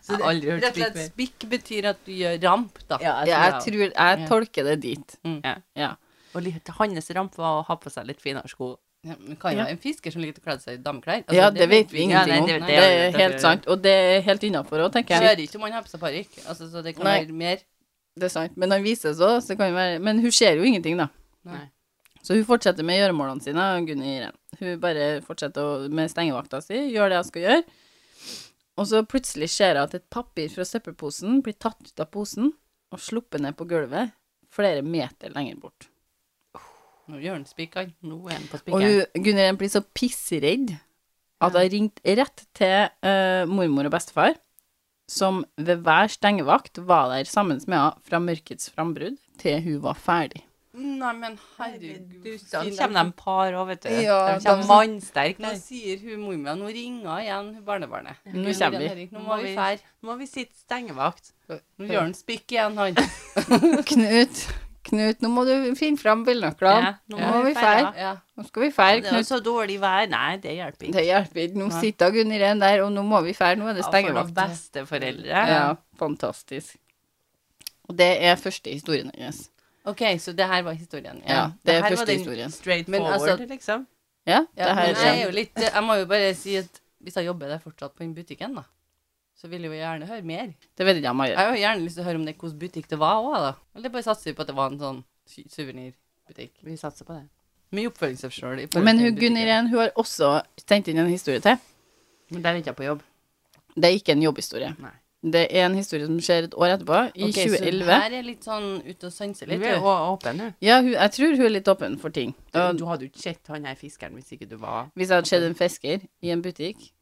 Speaker 3: Jeg har aldri hørt
Speaker 2: Rett og
Speaker 3: spikk
Speaker 2: slett
Speaker 3: før.
Speaker 2: spikk betyr at du gjør ramp, da.
Speaker 3: Altså,
Speaker 1: ja,
Speaker 3: Ja,
Speaker 1: jeg
Speaker 3: jeg tror det.
Speaker 1: tror Jeg
Speaker 2: Ja.
Speaker 1: tolker det dit.
Speaker 2: Mm.
Speaker 3: Ja.
Speaker 1: ja.
Speaker 3: Og litt, hans ramp var å ha på seg litt finere sko.
Speaker 2: Ja, men kan jo
Speaker 1: Ja.
Speaker 2: være en fisker som liker å kle seg i dameklær. Altså,
Speaker 1: ja, det, vet vi
Speaker 3: Ja,
Speaker 1: ingenting
Speaker 3: nei,
Speaker 1: om. Det,
Speaker 3: det vet jeg, det
Speaker 1: er
Speaker 3: vet
Speaker 1: helt
Speaker 3: jeg.
Speaker 1: sant. Og det er helt innafor òg,
Speaker 2: Jeg
Speaker 1: tenker jeg.
Speaker 2: hører ikke om han har på seg parykk, altså, så det kan
Speaker 1: Nei.
Speaker 2: være mer.
Speaker 1: Det er sant. Men han viser seg også, så det kan jo være Men hun ser jo ingenting, da.
Speaker 2: Nei.
Speaker 1: Så hun fortsetter med gjøremålene sine, Gunni Irén. Hun bare fortsetter å- med stengevakta si, gjør det hun skal gjøre. Og så plutselig ser hun at et papir fra søppelposen blir tatt ut av posen og sluppet ned på gulvet flere meter lenger bort.
Speaker 2: Nå gjør han spikk, han.
Speaker 3: Nå er han på
Speaker 1: Og
Speaker 3: spikken.
Speaker 1: hun, Gunni Irén blir så pissredd at hun ringte rett til eh, mormor og bestefar, som ved hver stengevakt var der sammen med henne fra mørkets frambrudd til hun var ferdig.
Speaker 2: Nei, men herregud.
Speaker 3: Du, sånn kommer de par òg, vet du.
Speaker 1: Ja,
Speaker 3: de kommer
Speaker 1: de-
Speaker 3: mannsterke.
Speaker 2: Nå
Speaker 3: Nå
Speaker 2: sier hun mormora Nå ringer hun igjen hun barnebarnet.
Speaker 1: Nå kommer vi.
Speaker 2: Nå må vi fære.
Speaker 3: Nå må vi sitte stengevakt.
Speaker 2: Nå gjør han spikk igjen, han.
Speaker 1: Knut, Knut, nå må du finne fram bilnøklene.
Speaker 3: Ja,
Speaker 1: nå, må vi feire.
Speaker 2: Ja.
Speaker 1: Nå skal vi feire,
Speaker 3: Det er jo
Speaker 1: Knut.
Speaker 3: så dårlig vær. Nei, det hjelper ikke.
Speaker 1: Det hjelper ikke. Nå
Speaker 3: Nei.
Speaker 1: sitter Gunn Irén der, og nå må vi feire. Nå er det
Speaker 3: For
Speaker 1: stengevakt.
Speaker 3: noen besteforeldre.
Speaker 1: Ja, fantastisk. Og det er første historien hennes.
Speaker 2: OK, så det her var historien.
Speaker 1: Ja, det er
Speaker 3: her var
Speaker 1: første
Speaker 3: den
Speaker 1: historien.
Speaker 3: Straight
Speaker 2: Men
Speaker 3: forward,
Speaker 2: altså-
Speaker 3: liksom.
Speaker 1: Ja,
Speaker 2: Ja,
Speaker 1: det her
Speaker 2: men jeg er
Speaker 1: ja.
Speaker 2: jo litt Jeg må jo bare si at hvis jeg jobber der fortsatt på den butikken, da, så vil jeg jo gjerne høre mer.
Speaker 1: Det vet ikke jeg om jeg
Speaker 2: Jeg
Speaker 1: gjør.
Speaker 2: har jo gjerne lyst til å høre om det hvilken butikk det var òg, da. Eller bare satser vi på at det var en sånn sy- suvenirbutikk.
Speaker 3: Vi satser på det.
Speaker 2: Mye oppfølgingsspørsmål. i forhold
Speaker 1: Men
Speaker 2: til
Speaker 1: hun, Gunn
Speaker 2: butikken.
Speaker 1: Irén hun har også sendt inn en historie til.
Speaker 3: Men der er ikke jeg på jobb.
Speaker 1: Det er ikke en jobbhistorie.
Speaker 3: Nei.
Speaker 1: Det er en historie som skjer et år etterpå, i
Speaker 2: Ok, så
Speaker 1: 2011.
Speaker 2: Her er litt sånn ute og sanser litt.
Speaker 3: Du er
Speaker 2: du.
Speaker 3: jo åpen, du.
Speaker 1: Ja, hun, jeg tror hun er litt åpen for ting.
Speaker 3: Du,
Speaker 1: Og
Speaker 3: du hadde jo ikke sett han her fiskeren hvis ikke du var
Speaker 1: hvis jeg hadde sett en fisker i en butikk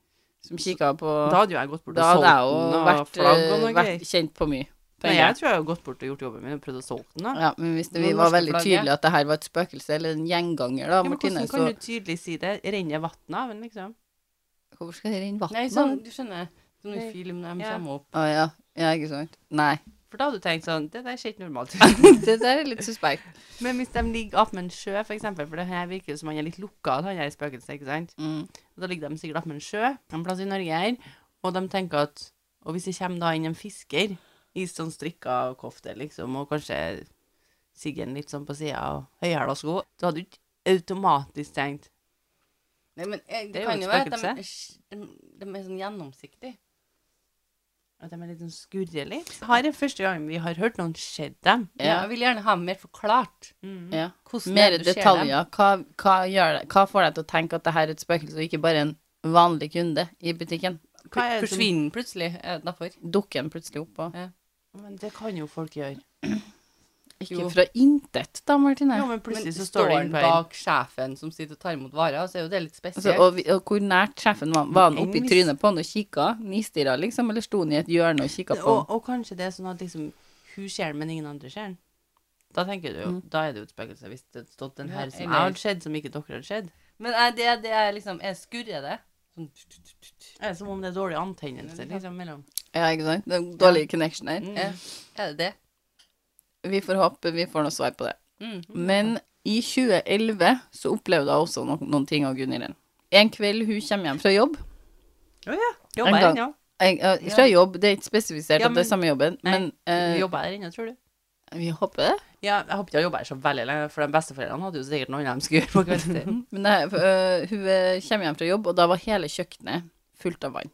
Speaker 1: som kikka på
Speaker 3: Da hadde jo jeg gått bort og
Speaker 1: Da hadde
Speaker 3: solgt
Speaker 1: jeg
Speaker 3: den
Speaker 1: jo
Speaker 3: og
Speaker 1: vært, eh,
Speaker 3: flagg og noe
Speaker 1: vært
Speaker 3: greier.
Speaker 1: kjent på mye.
Speaker 3: Nei,
Speaker 1: penger.
Speaker 3: jeg tror jeg har gått bort og gjort jobben min og prøvd å solge den. da.
Speaker 1: Ja, men hvis det, vi
Speaker 3: Noen
Speaker 1: var
Speaker 3: norske
Speaker 1: veldig
Speaker 3: flagg,
Speaker 1: tydelig at det her var et spøkelse, eller en gjenganger, da,
Speaker 3: Ja, men
Speaker 1: Martine,
Speaker 3: hvordan
Speaker 1: så
Speaker 3: kan du tydelig si det? Renner vann av den, liksom?
Speaker 1: Hvorfor skal det renne vann?
Speaker 2: Nei, sånn, du skjønner. Sånn i
Speaker 3: Nei.
Speaker 2: film når de
Speaker 3: Ja.
Speaker 2: kommer opp.
Speaker 1: Å ja. ja, ikke sant? Nei.
Speaker 3: For da hadde du tenkt sånn Det der ser ikke normalt ut.
Speaker 1: Det der er litt suspekt.
Speaker 3: Men hvis de ligger attmed en sjø, for eksempel, for det her virker jo som han er litt lokal, han her spøkelset, ikke sant?
Speaker 1: Mm.
Speaker 3: Og Da ligger de sikkert attmed en sjø, en plass i Norge her, og de tenker at Og hvis det kommer da inn en fisker i sånn strikka kofte, liksom, og kanskje siggen litt sånn på sida og høyhæla sko, så hadde du ikke automatisk tenkt
Speaker 2: Nei, men eh,
Speaker 3: Det er
Speaker 2: det
Speaker 3: jo
Speaker 2: kan
Speaker 3: et
Speaker 2: jo være at de,
Speaker 3: spøkelse.
Speaker 2: de, de er sånn gjennomsiktige.
Speaker 3: at de er litt sånn skurrer litt. Her er første gang vi har hørt noen se dem.
Speaker 1: Ja.
Speaker 2: Ja. Jeg vil gjerne ha mer forklart.
Speaker 1: Ja.
Speaker 2: Hvordan
Speaker 1: Mer
Speaker 2: er det du ser dem.
Speaker 1: detaljer. Hva, hva, gjør det? hva får deg til å tenke at det her er et spøkelse, og ikke bare en vanlig kunde i butikken?
Speaker 3: Hva er det som-
Speaker 2: Forsvinner plutselig. Er det derfor?
Speaker 1: Dukker den plutselig opp? Og...
Speaker 3: Men det kan jo folk gjøre.
Speaker 1: Ikke
Speaker 2: Jo.
Speaker 1: fra intet, da, Martine.
Speaker 3: Jo, men
Speaker 2: Men
Speaker 3: plutselig så står det
Speaker 2: han
Speaker 3: en på
Speaker 2: bak sjefen som sitter og tar imot varer, så er jo det litt spesielt.
Speaker 1: Altså, og, vi- og hvor nært sjefen var, var han
Speaker 3: Enn
Speaker 1: oppi
Speaker 3: hvis-
Speaker 1: trynet på han og kikka? Nistirra, liksom? Eller sto han i et hjørne og kikka på han?
Speaker 3: Og, og kanskje det er sånn at liksom, hun ser den, men ingen andre ser den. Da tenker du jo, da er det jo et spøkelse hvis det hadde stått en
Speaker 2: Ja,
Speaker 3: her som jeg
Speaker 2: eller-
Speaker 3: hadde skjedd, som ikke dere hadde skjedd.
Speaker 2: Men er det, det er liksom Jeg skurrer det. Sånn tut, tut, tut, tut.
Speaker 3: Det er som om det er dårlig antennelse liksom, mellom.
Speaker 1: Ja, ikke sant? Det er en dårlig connection her.
Speaker 3: Mm.
Speaker 2: Er, er det det?
Speaker 1: Vi får håpe vi får noe svar på det.
Speaker 3: Mm.
Speaker 1: Men i 2011 så opplevde jeg også no noen ting av Gunhild. En kveld hun kommer hjem fra jobb
Speaker 3: Å ja,
Speaker 1: En
Speaker 3: jobber
Speaker 1: gang.
Speaker 3: her ennå.
Speaker 1: jeg, eh, Fra jobb, det er ikke spesifisert
Speaker 3: Ja,
Speaker 1: at det
Speaker 3: men-
Speaker 1: er samme jobben,
Speaker 3: Nei,
Speaker 1: men eh,
Speaker 3: Jobber her ennå, tror du?
Speaker 1: vi håper det.
Speaker 3: Ja, jeg håper ikke jeg jobber her så veldig lenge, for de besteforeldrene hadde jo sikkert noe annet de skulle gjøre på kveldstid.
Speaker 1: Men det, eh, hun eh, kommer hjem fra jobb, og da var hele kjøkkenet fullt av vann.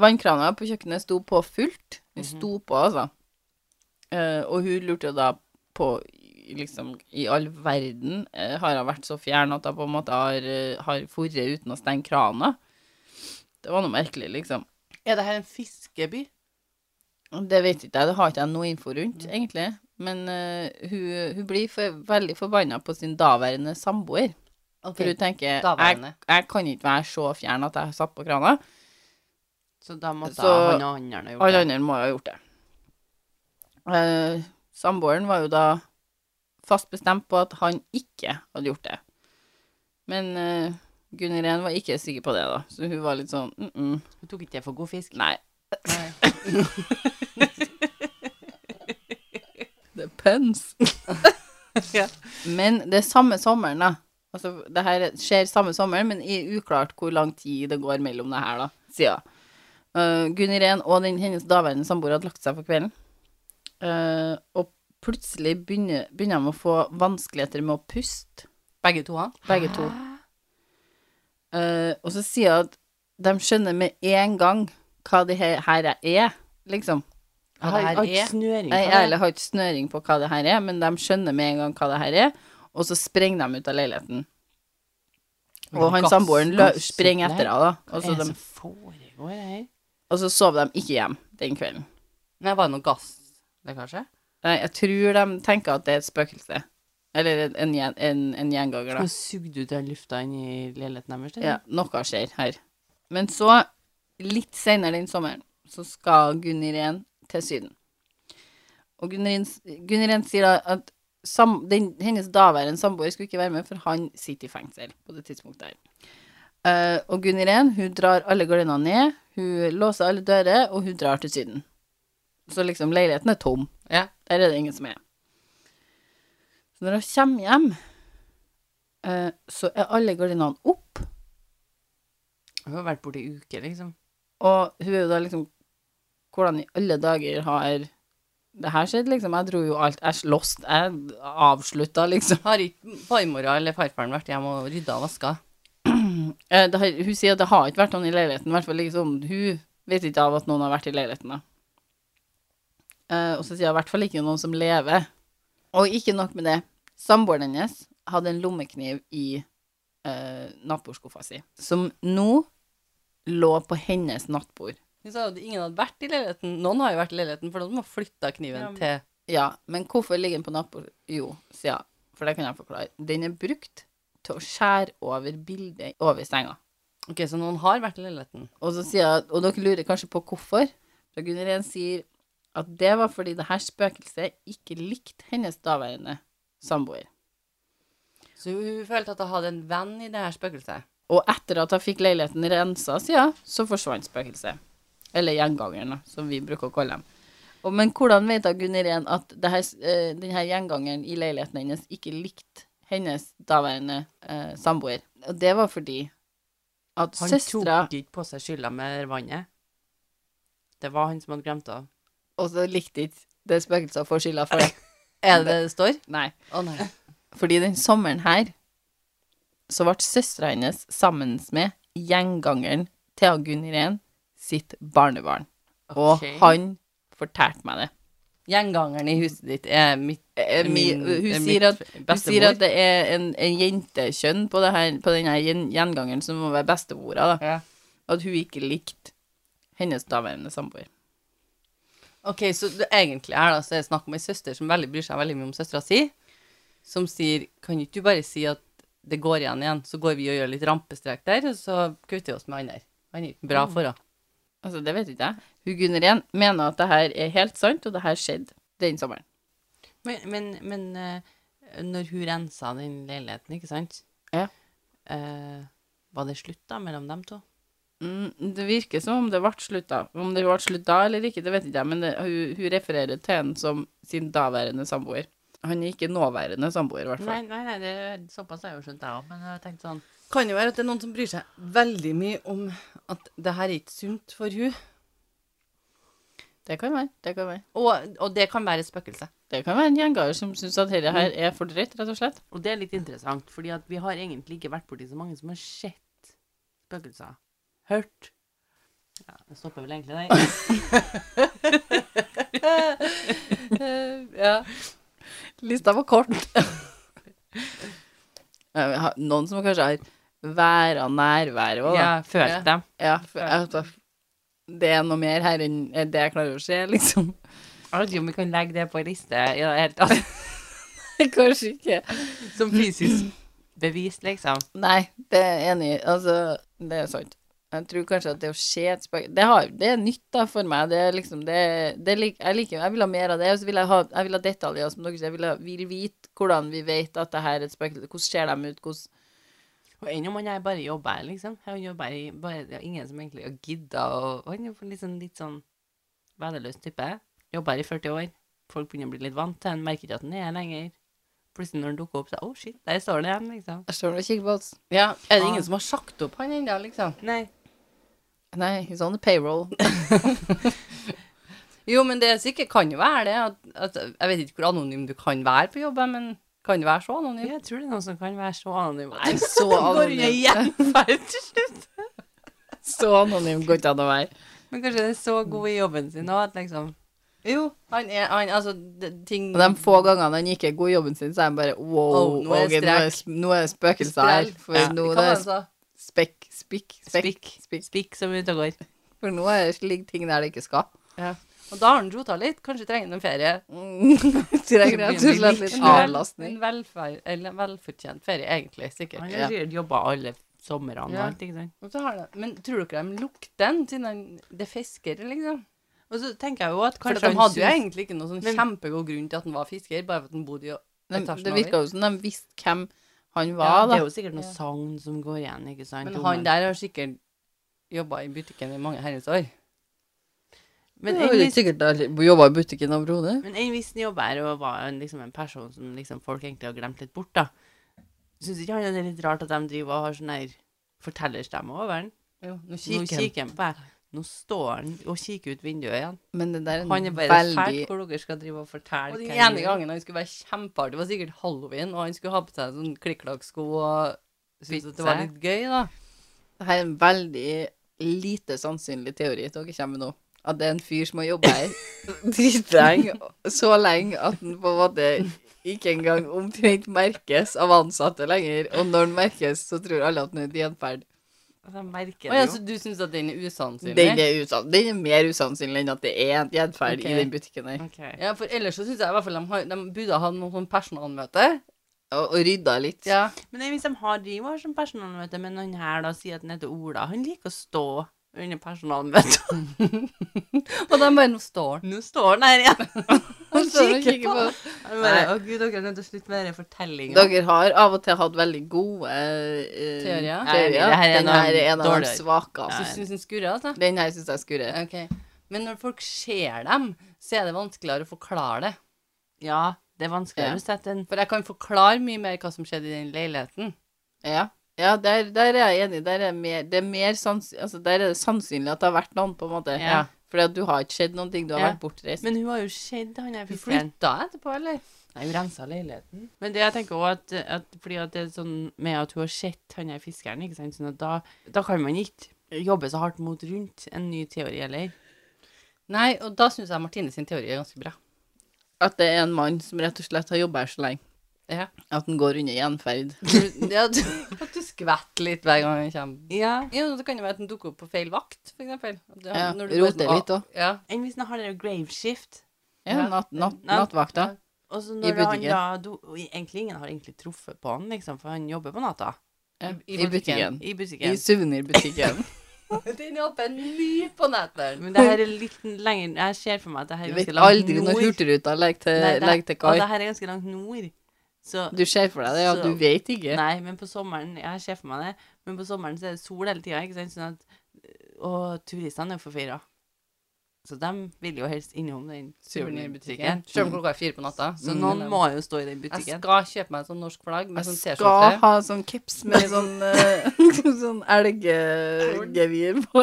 Speaker 1: Vannkrana på kjøkkenet sto på fullt. Den
Speaker 3: Mhm.
Speaker 1: sto på, altså. Eh, og hun lurte jo da på liksom I all verden eh, har hun vært så fjern at hun på en måte har, uh, har forret uten å stenge krana. Det var noe merkelig, liksom.
Speaker 3: er det her en fiskeby?
Speaker 1: Det vet ikke jeg, det har ikke jeg noe info rundt, egentlig. Men eh, hun, hun blir for, veldig forbanna på sin daværende samboer. For hun tenker jeg,
Speaker 2: daværende.
Speaker 1: jeg kan ikke være så fjern at jeg har satt på krana.
Speaker 3: Så da måtte
Speaker 1: Så-
Speaker 3: han og andre ha gjort
Speaker 1: Alle
Speaker 3: det.
Speaker 1: andre må jo ha gjort det. Eh, Samboeren var jo da fast bestemt på at han ikke hadde gjort det. Men eh, Gunn Irén var ikke sikker på det, da. Så hun var litt sånn mm -mm,
Speaker 3: Hun tok ikke det for god fisk.
Speaker 1: Nei,
Speaker 3: Nei.
Speaker 1: det er pøns.
Speaker 3: Ja.
Speaker 1: Men det er samme sommeren, da. Altså, det her skjer samme sommeren, men i uklart hvor lang tid det går mellom det her, da, sier hun. Eh, Gunn Irén og den, hennes daværende samboer hadde lagt seg for kvelden. Eh, og plutselig begynner, begynner de å få vanskeligheter med å puste.
Speaker 3: Begge to, han.
Speaker 1: Begge to. Eh, og så sier hun at de skjønner med en gang hva det her, her er, liksom.
Speaker 3: Ja, det her er snøring.
Speaker 1: Jeg ærlig har ikke snøring på hva det her er, men de skjønner med en gang hva det her er, og så sprenger de ut av leiligheten. Og han
Speaker 3: Gass-
Speaker 1: samboeren lø-
Speaker 3: gassopplegg.
Speaker 1: sprenger etter henne, da. Og
Speaker 3: Hva
Speaker 1: så,
Speaker 3: er det
Speaker 1: de,
Speaker 3: som foregår her?
Speaker 1: og så sov de ikke hjem den kvelden.
Speaker 2: Nei, var det noe gass der, kanskje?
Speaker 1: Nei, jeg tror de tenker at det er et spøkelse. Eller en, en, gjen- en, en gjenganger, da.
Speaker 3: Nå sugde du den lufta inn i leiligheten deres? eller?
Speaker 1: Ja, noe skjer her. Men så, litt senere den sommeren, så skal Gunn Irén til Syden. Og Gunn Irén- Gunn Irén sier da at sam, den, hennes daværende samboer skulle ikke være med, for han sitter i fengsel på det tidspunktet her. Eh, og Gunn Irén, hun drar alle gardinene ned, hun låser alle dører, og hun drar til Syden. Så liksom, leiligheten er tom.
Speaker 2: Ja.
Speaker 1: Der er det ingen som er. Så når hun kommer hjem, eh, så er alle gardinene opp,
Speaker 3: Hun har vært borte i uke, liksom.
Speaker 1: Og hun er jo da liksom Hvordan i alle dager har det her skjedd, liksom? Jeg dro jo alt Jeg lost. Jeg avslutta, liksom.
Speaker 2: Har ikke farmora eller farfaren vært hjemme og rydda og vaska?
Speaker 1: Eh, Det har, hun sier at det har ikke vært noen i leiligheten. I hvert fall liksom Hun vet ikke av at noen har vært i leiligheten, da. Eh, Og så sier hun i hvert fall ikke noen som lever. Og ikke nok med det. Samboeren hennes hadde en lommekniv i eh, nattbordskuffa si, som nå lå på hennes nattbord.
Speaker 2: Hun sa jo at ingen hadde vært i leiligheten. Noen har jo vært i leiligheten, for noen må flytte kniven
Speaker 3: Ja, men-
Speaker 2: til
Speaker 1: Ja, men hvorfor ligger den på nattbordet? Jo, sier jeg, for det kan jeg forklare. Den er brukt til å skjære over bildet over senga.
Speaker 2: Ok, så noen har vært i leiligheten.
Speaker 1: Og så sier jeg, og dere lurer kanskje på hvorfor. For Gunn Irén sier at det var fordi det her spøkelset ikke likte hennes daværende samboer.
Speaker 2: Så hun følte at hun hadde en venn i det her spøkelset.
Speaker 1: Og etter at hun fikk leiligheten rensa, sier hun, så forsvant spøkelset. Eller gjengangeren, da, som vi bruker å kalle dem. Og, men hvordan vet hun, Gunn Irén at det her, eh, den her gjengangeren i leiligheten hennes ikke likte hennes daværende eh, samboer? Og det var fordi at
Speaker 3: Han
Speaker 1: søstera
Speaker 3: tok ikke på seg skylda med vannet. Det var han som hadde glemt det.
Speaker 1: Og så likte ikke det spøkelset å få skylda for det.
Speaker 2: Er det det det står?
Speaker 1: Nei.
Speaker 2: Å nei.
Speaker 1: Fordi den sommeren her så ble søstera hennes sammen med gjengangeren Thea Gunn Irén sitt barnebarn. Og
Speaker 3: Ok.
Speaker 1: han fortalte meg det.
Speaker 2: Gjengangeren i huset ditt er mitt
Speaker 1: Eh, mi-
Speaker 2: min-
Speaker 1: hun,
Speaker 2: er mitt
Speaker 1: sier at, hun
Speaker 2: bestemor.
Speaker 1: sier at det er en, en jentekjønn på, det her, på denne gjengangeren som må være bestemora, da.
Speaker 2: Ja.
Speaker 1: At hun ikke likte hennes daværende samboer.
Speaker 2: Ok, så det, egentlig her da, så er det snakk om en søster som veldig bryr seg veldig mye om søstera si, som sier, kan ikke du bare si at det går igjen igjen, så går vi og gjør litt rampestrek der, og så kutter vi oss med han der. Han er ikke bra for henne.
Speaker 1: Altså, det vet ikke jeg. Hun Gunn Irén mener at det her er helt sant, og det her skjedde den sommeren.
Speaker 3: Men, men, men eh, når hun rensa den leiligheten, ikke sant?
Speaker 1: Ja.
Speaker 3: Eh, var det slutt da mellom dem to?
Speaker 1: Mm, det virker som om det ble slutt da. Om det ble slutt da eller ikke, det vet ikke jeg, men det, hun, hun refererer til henne som sin daværende samboer. Han er ikke nåværende samboer, i hvert fall.
Speaker 3: Nei, nei, nei det, såpass har jeg jo skjønt, jeg òg. Men jeg tenkte sånn
Speaker 2: Kan jo være at det er noen som bryr seg veldig mye om at det her er ikke sunt for hun,
Speaker 1: Det kan være. Det kan være,
Speaker 2: og, og det kan være et spøkelse.
Speaker 1: det kan være en gjenganger som syns at dette her er for drøyt, rett og slett.
Speaker 3: Og det er litt interessant, fordi at vi har egentlig ikke vært borti så mange som har sett spøkelser. Hørt. Ja, det stopper vel egentlig der.
Speaker 2: ja.
Speaker 1: Mm. Lista var kort. Eh, ha- Noen som kanskje har væra nærværet òg, da.
Speaker 3: Ja, følt dem.
Speaker 1: Ja, for, at
Speaker 2: altså,
Speaker 1: det er noe mer her enn det jeg klarer å se, liksom.
Speaker 3: Jeg vet ikke om vi kan legge det på en liste i det hele tatt.
Speaker 1: Kanskje ikke.
Speaker 3: Som fysisk bevis, liksom.
Speaker 1: Nei, det er jeg enig i. Altså, det er sant. Jeg tror kanskje at det å se et spøkelse det, har- det er nytt da for meg. Det er liksom det, det lik, Jeg liker Jeg vil ha mer av det. Og så vil jeg ha, jeg vil ha detaljer, som dere sier. Jeg vil, ha, vil vite hvordan vi vet at det her er et spøkelse. Hvordan ser de ut? Hvordan
Speaker 3: Og enn om han her bare jobber her, liksom. Han jobber i bare, det er ingen som egentlig har gidda å og Han er jo litt sånn, litt sånn venneløs type. Jobber her i 40 år. Folk begynner å bli litt vant til han, merker ikke at han er her lenger. Plutselig når han dukker opp, så oh shit, der står han igjen, liksom.
Speaker 1: Jeg står og kikker på oss.
Speaker 2: Er det ingen som har sagt opp han enda, liksom?
Speaker 3: Nei.
Speaker 1: Nei, he's on the payroll.
Speaker 2: Jo, men det er sikkert kan jo være det. At, at, jeg vet ikke hvor anonym du kan være på jobben, men kan det være så anonym?
Speaker 3: Jeg tror det er noen som kan være så anonym.
Speaker 1: Nei, så anonym. Så anonym går ikke an å være.
Speaker 3: Men kanskje det er så god i jobben sin òg at liksom
Speaker 2: Jo, han er han, Altså, det, ting
Speaker 1: Og de få gangene han ikke er god i jobben sin, så er han bare wow,
Speaker 2: Oh, nå er
Speaker 1: Åge,
Speaker 2: det
Speaker 1: nå, er, sp- nå er det spøkelser her.
Speaker 2: Sprell.
Speaker 1: For
Speaker 3: Ja,
Speaker 1: nå
Speaker 2: Hva
Speaker 1: det
Speaker 2: var
Speaker 1: er
Speaker 2: det han sa?
Speaker 1: spekk, spikk, spekk.
Speaker 3: spikk. Spikk som ute og går.
Speaker 1: For nå er det ligger ting der det ikke skal.
Speaker 2: Og da har han rota litt. Kanskje trenger han en ferie.
Speaker 1: Trenger rett og slett litt
Speaker 2: En vel-
Speaker 1: avlastning.
Speaker 2: En velfer, eller velfortjent ferie, egentlig. Sikkert.
Speaker 3: Han
Speaker 1: Ja.
Speaker 3: har sikkert jobba alle somrene og
Speaker 2: Ja.
Speaker 3: alt, ikke sant.
Speaker 2: Og så har det- Men tror dere de lukter den, siden han- det fisker, liksom?
Speaker 3: Og så tenker jeg jo at
Speaker 2: For at
Speaker 3: kanskje
Speaker 2: de hadde jo
Speaker 3: synes-
Speaker 2: egentlig ikke noen sånn
Speaker 3: Men-
Speaker 2: kjempegod grunn til at han var fisker, bare for at han bodde i
Speaker 1: De,
Speaker 2: etasjen
Speaker 1: det
Speaker 2: over.
Speaker 1: virka jo som de visste hvem han
Speaker 3: ja,
Speaker 1: var,
Speaker 3: det er
Speaker 1: da.
Speaker 3: jo sikkert noen sagn som går igjen, ikke sant.
Speaker 2: Men
Speaker 3: om
Speaker 2: han der har sikkert jobba i butikken i mange herrens år.
Speaker 3: Men enn hvis-
Speaker 1: sikkert jobba i butikken overhodet.
Speaker 3: men enn hvis han jobber her og var en, liksom en person som liksom folk egentlig har glemt litt bort, da. Syns ikke han det er litt rart at de driver og har sånn her fortellerstemme over han?
Speaker 2: Jo, nå
Speaker 3: Nå
Speaker 2: kikker han.
Speaker 3: kikker han på meg. Nå står han og kikker ut vinduet igjen.
Speaker 1: Men det der er,
Speaker 3: Han er bare
Speaker 1: veldig
Speaker 3: fælt hvor dere skal drive og fortelle
Speaker 2: Og den
Speaker 3: hva han
Speaker 2: ene
Speaker 3: gjør.
Speaker 2: gangen han skulle være kjempeartig, var sikkert halloween, og han skulle ha på seg sånn klikklakksko og syntes at det var
Speaker 3: Pizza.
Speaker 2: litt gøy, da.
Speaker 1: Det her er en veldig lite sannsynlig teori dere kommer med nå. At det er en fyr som har jobba her dritlenge, så lenge at han på en måte ikke engang omtrent merkes av ansatte lenger. Og når han merkes, så tror alle at han er gjenferd.
Speaker 3: Altså, jeg merker
Speaker 2: Å ja,
Speaker 3: det
Speaker 2: så
Speaker 3: jo.
Speaker 2: du syns at den er usannsynlig?
Speaker 1: Den er, usann- den er mer usannsynlig enn at det er en gjenferd
Speaker 3: Ok.
Speaker 1: i den butikken her.
Speaker 3: Ok.
Speaker 2: Ja, for ellers så syns jeg i hvert fall de, har, de burde ha noe sånn personalmøte.
Speaker 1: Og, og rydda litt.
Speaker 2: Ja.
Speaker 3: sånn Men det er hvis de har driver som personalmøte, men han her da sier at han heter Ola, han liker å stå under personalmøtet.
Speaker 2: Og de bare Nå står han.
Speaker 3: Nå står han her igjen.
Speaker 1: Han står og kikker på.
Speaker 3: Jeg bare, Å gud, dere er nødt til å slutte med den fortellinga.
Speaker 1: Dere har av og til hatt veldig gode eh,
Speaker 2: Teorier?
Speaker 3: Nei, det her er en
Speaker 1: Den her
Speaker 3: av de
Speaker 1: er en av de
Speaker 3: dårligere.
Speaker 1: svakeste.
Speaker 2: Du syns han skurrer, altså?
Speaker 1: Den her syns jeg skurrer.
Speaker 2: Ok. Men når folk ser dem, så er det vanskeligere å forklare det.
Speaker 3: Ja, det er vanskeligere å sette en
Speaker 2: For jeg kan forklare mye mer hva som skjedde i den leiligheten.
Speaker 1: Ja, ja der, der er jeg enig. Der er, mer, det er mer sans, altså, der er det sannsynlig at det har vært noen, på en måte.
Speaker 3: Ja.
Speaker 1: Fordi at du har ikke skjedd noen ting. Du har
Speaker 3: Ja.
Speaker 1: vært bortreist.
Speaker 3: Men hun har jo sett han her
Speaker 2: Du
Speaker 3: fiskeren.
Speaker 2: flytta etterpå, eller?
Speaker 3: Nei, hun rensa leiligheten. Men det jeg tenker også at, at fordi at det er sånn med at hun har sett han her fiskeren, ikke sant, sånn at da, da kan man ikke jobbe så hardt mot rundt en ny teori, eller?
Speaker 2: Nei, og da syns jeg Martine sin teori er ganske bra.
Speaker 1: At det er en mann som rett og slett har jobba her så lenge.
Speaker 2: Ja.
Speaker 1: At han går under gjenferd.
Speaker 2: ja, du, at du skvetter litt hver gang han kommer.
Speaker 3: Ja.
Speaker 2: Ja, det kan jo være at den dukker opp på feil vakt, for eksempel. At det-
Speaker 1: Ja,
Speaker 2: når du bare-
Speaker 1: roter litt også.
Speaker 2: Ja.
Speaker 3: Enn hvis han har det der grave shift?
Speaker 1: Ja,
Speaker 2: Ja.
Speaker 1: natt, natt,
Speaker 3: Ja.
Speaker 1: nattvakta.
Speaker 3: Og så
Speaker 1: I
Speaker 3: når han
Speaker 1: butikken.
Speaker 3: da do, og Egentlig ingen har egentlig truffet på han, liksom, for han jobber på natta.
Speaker 1: Ja.
Speaker 2: I-
Speaker 1: I butikken.
Speaker 3: I
Speaker 1: I
Speaker 3: butikken.
Speaker 1: suvenirbutikken.
Speaker 2: Den er åpen mye på netteren.
Speaker 3: Men det her er litt lenger Jeg ser for meg at det her
Speaker 1: Jeg
Speaker 3: er
Speaker 1: vet
Speaker 3: ganske langt
Speaker 1: aldri når
Speaker 3: nord.
Speaker 1: Hurtigruta legger til,
Speaker 3: Nei, det-
Speaker 1: legger til kai.
Speaker 3: Og det her er ganske langt nord. Så
Speaker 1: Du ser for deg det, ja.
Speaker 3: Så-
Speaker 1: Du vet ikke.
Speaker 3: Nei, men på sommeren Jeg ser for meg det. Men på sommeren så er det sol hele tida, ikke sant? Sånn at Og turistene er jo forvirra. Så de vil jo helst innom den
Speaker 2: Suvenirbutikken.
Speaker 3: souvenirbutikken.
Speaker 2: Selv om klokka er fire på natta.
Speaker 3: Så noen må jo stå Mm. i den
Speaker 2: Jeg skal
Speaker 3: butikken.
Speaker 2: kjøpe meg en sånn norsk flagg med
Speaker 1: Jeg
Speaker 2: sånn
Speaker 1: skal
Speaker 2: T-skjorte.
Speaker 1: ha sånn caps med sånn, eh, sånn elggevir på.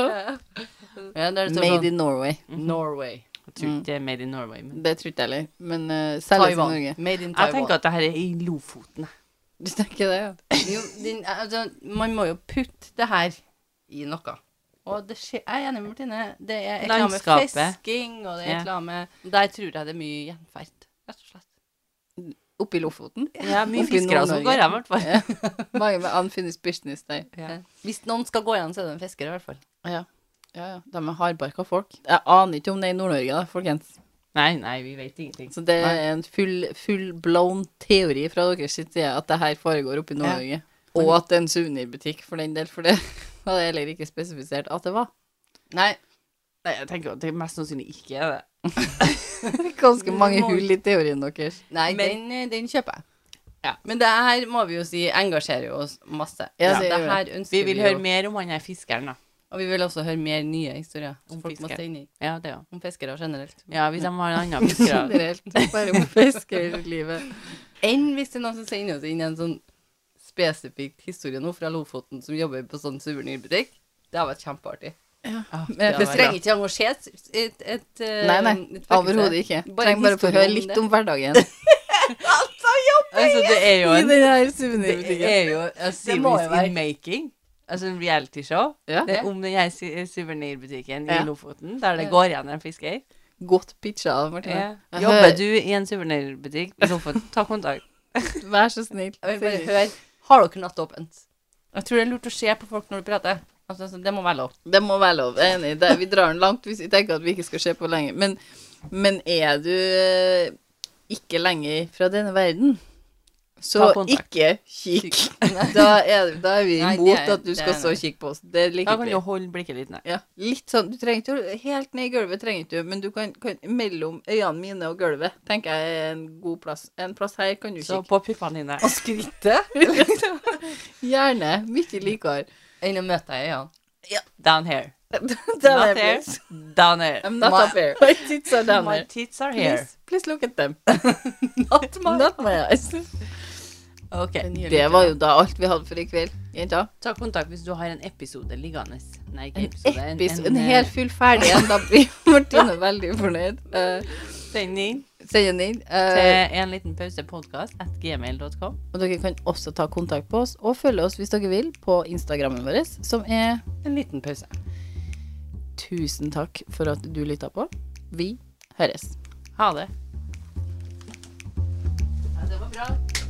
Speaker 2: Ja, der det står
Speaker 1: Made
Speaker 2: sånn
Speaker 1: in Norway.
Speaker 2: Norway.
Speaker 3: Jeg tror ikke det er made in Norway, men
Speaker 1: Det tror ikke jeg heller. Men uh, selges i Norge.
Speaker 2: Taiwan. Made in
Speaker 3: Jeg
Speaker 2: Taiwan.
Speaker 3: tenker at Mm. det her er i Lofoten. jeg.
Speaker 1: Du tenker det, ja?
Speaker 2: Jo, din, altså, man må jo putte det her i noe. Og det skjer, jeg er enig med Martine. Det er et eller annet med
Speaker 3: Landskapet.
Speaker 2: fisking, og det er
Speaker 3: Ja.
Speaker 2: et eller annet med Der tror jeg det er mye gjenferd, rett og slett.
Speaker 1: Oppe i Lofoten?
Speaker 3: Ja, mye
Speaker 1: Oppe i
Speaker 3: fiskere
Speaker 1: Nord-Norge.
Speaker 3: som går hjem, i hvert fall.
Speaker 1: Ja. Mange med unfinished business der.
Speaker 3: Ja.
Speaker 2: Eh, Hvis noen skal gå igjen, så er det en fisker, i hvert fall.
Speaker 1: Ja, ja. ja. De er hardbarka folk. Jeg aner ikke om det er i Nord-Norge, da, folkens.
Speaker 3: Nei, nei, vi vet ingenting.
Speaker 1: Så det
Speaker 2: Nei.
Speaker 1: er en full, full blown teori fra deres side at det her foregår oppe i Nord-Norge. Og at det er en suvenirbutikk, for den del. For det hadde jeg heller ikke spesifisert at det var.
Speaker 2: Nei,
Speaker 3: Nei, jeg tenker at det mest sannsynlig ikke er det.
Speaker 1: Ganske mange hull i teorien deres.
Speaker 2: Nei,
Speaker 3: Men-
Speaker 2: den, eh, den kjøper jeg.
Speaker 3: Ja.
Speaker 2: Men det her må vi jo si engasjerer jo oss masse.
Speaker 1: Ja,
Speaker 2: Så
Speaker 1: det
Speaker 2: det
Speaker 1: gjør
Speaker 2: her ønsker
Speaker 3: Vi vil høre
Speaker 2: jo.
Speaker 3: mer om han her fiskeren, da.
Speaker 2: Og vi vil også høre mer nye historier som
Speaker 3: Om
Speaker 2: folk må
Speaker 3: fisker.
Speaker 2: stå inn i.
Speaker 3: Ja, det òg.
Speaker 2: Om fiskere generelt.
Speaker 3: Ja, hvis de har en annen fisker.
Speaker 1: Generelt. Bare om fiskerlivet.
Speaker 2: Enn hvis det er noen som sender oss inn en sånn spesifikk historie nå fra Lofoten som jobber på sånn suvenirbutikk. Det hadde vært kjempeartig.
Speaker 3: Ah,
Speaker 1: Men
Speaker 2: Det
Speaker 3: det
Speaker 1: det
Speaker 3: var-
Speaker 1: streng-
Speaker 2: trenger ikke engasjert et, et, et
Speaker 1: Nei, nei. Overhodet ikke. Trenger bare å få høre litt om hverdagen.
Speaker 3: altså, det er jo
Speaker 1: I
Speaker 3: en
Speaker 1: den her
Speaker 3: Det
Speaker 1: suvenirbutikken.
Speaker 3: er jo a
Speaker 2: må jo
Speaker 3: series
Speaker 2: være-
Speaker 3: in making. Altså en reality-show
Speaker 1: Ja.
Speaker 3: Det er om den her su- suvenirbutikken
Speaker 1: Ja.
Speaker 3: i Lofoten, der det
Speaker 2: Ja.
Speaker 3: går igjen en fisker.
Speaker 1: Godt pitcha av Martine. Jeg
Speaker 3: Jobber
Speaker 1: hører-
Speaker 3: du i en suvenirbutikk i Lofoten, ta kontakt.
Speaker 1: Vær så snill.
Speaker 2: Jeg vil bare høre. Har dere nattåpent? Jeg tror det er lurt å se på folk når du prater. Altså, så det må være lov.
Speaker 1: Det må være lov. Jeg er enig. Det, vi drar den langt hvis vi tenker at vi ikke skal se på lenge. Men, men er du eh, ikke lenger fra denne verden, så
Speaker 3: Ta kontakt.
Speaker 1: ikke kikk. Da er, da er vi
Speaker 2: Nei, det
Speaker 1: imot
Speaker 2: er-
Speaker 1: at du
Speaker 2: det
Speaker 1: skal
Speaker 2: er
Speaker 1: så
Speaker 2: nei.
Speaker 1: kikke på oss. Det liker
Speaker 3: Da kan
Speaker 1: ikke vi.
Speaker 3: du holde blikket litt ned.
Speaker 1: Ja, litt sånn, du trenger ikke å- Helt ned i gulvet trenger ikke du, men du kan, kan mellom øynene mine og gulvet, tenker jeg er en god plass. En plass her kan du
Speaker 3: Så
Speaker 1: kikke.
Speaker 3: på puppene dine.
Speaker 2: Og skryte
Speaker 1: Gjerne. Mye likere.
Speaker 2: enn å møte deg i øynene.
Speaker 3: Down here.
Speaker 1: Det er
Speaker 3: Not here.
Speaker 1: det.
Speaker 3: Down here.
Speaker 1: I'm not
Speaker 3: My-
Speaker 1: up here. My tits are down
Speaker 3: My
Speaker 1: there.
Speaker 3: tits are here.
Speaker 1: Please, please look at them.
Speaker 2: Not my-
Speaker 1: Not my eyes.
Speaker 3: Ok.
Speaker 1: Det var jo da alt vi hadde for i kveld, jenta.
Speaker 3: Ta kontakt hvis du har en episode liggende. Nei, ikke
Speaker 1: En,
Speaker 3: episode. En,
Speaker 1: epis- en
Speaker 3: en, eh,
Speaker 1: helt full ferdig en. Da blir Martine veldig fornøyd. Eh,
Speaker 3: sending
Speaker 1: Send den inn.
Speaker 3: til
Speaker 1: eh,
Speaker 3: en liten pause podcast at gmail.com.
Speaker 1: og dere kan også ta kontakt på oss, og følge oss hvis dere vil, på Instagrammen vår, som er
Speaker 2: En liten pause.
Speaker 1: Tusen takk for at du lytta på. Vi høres.
Speaker 3: Ha det.
Speaker 2: Ja, det var bra.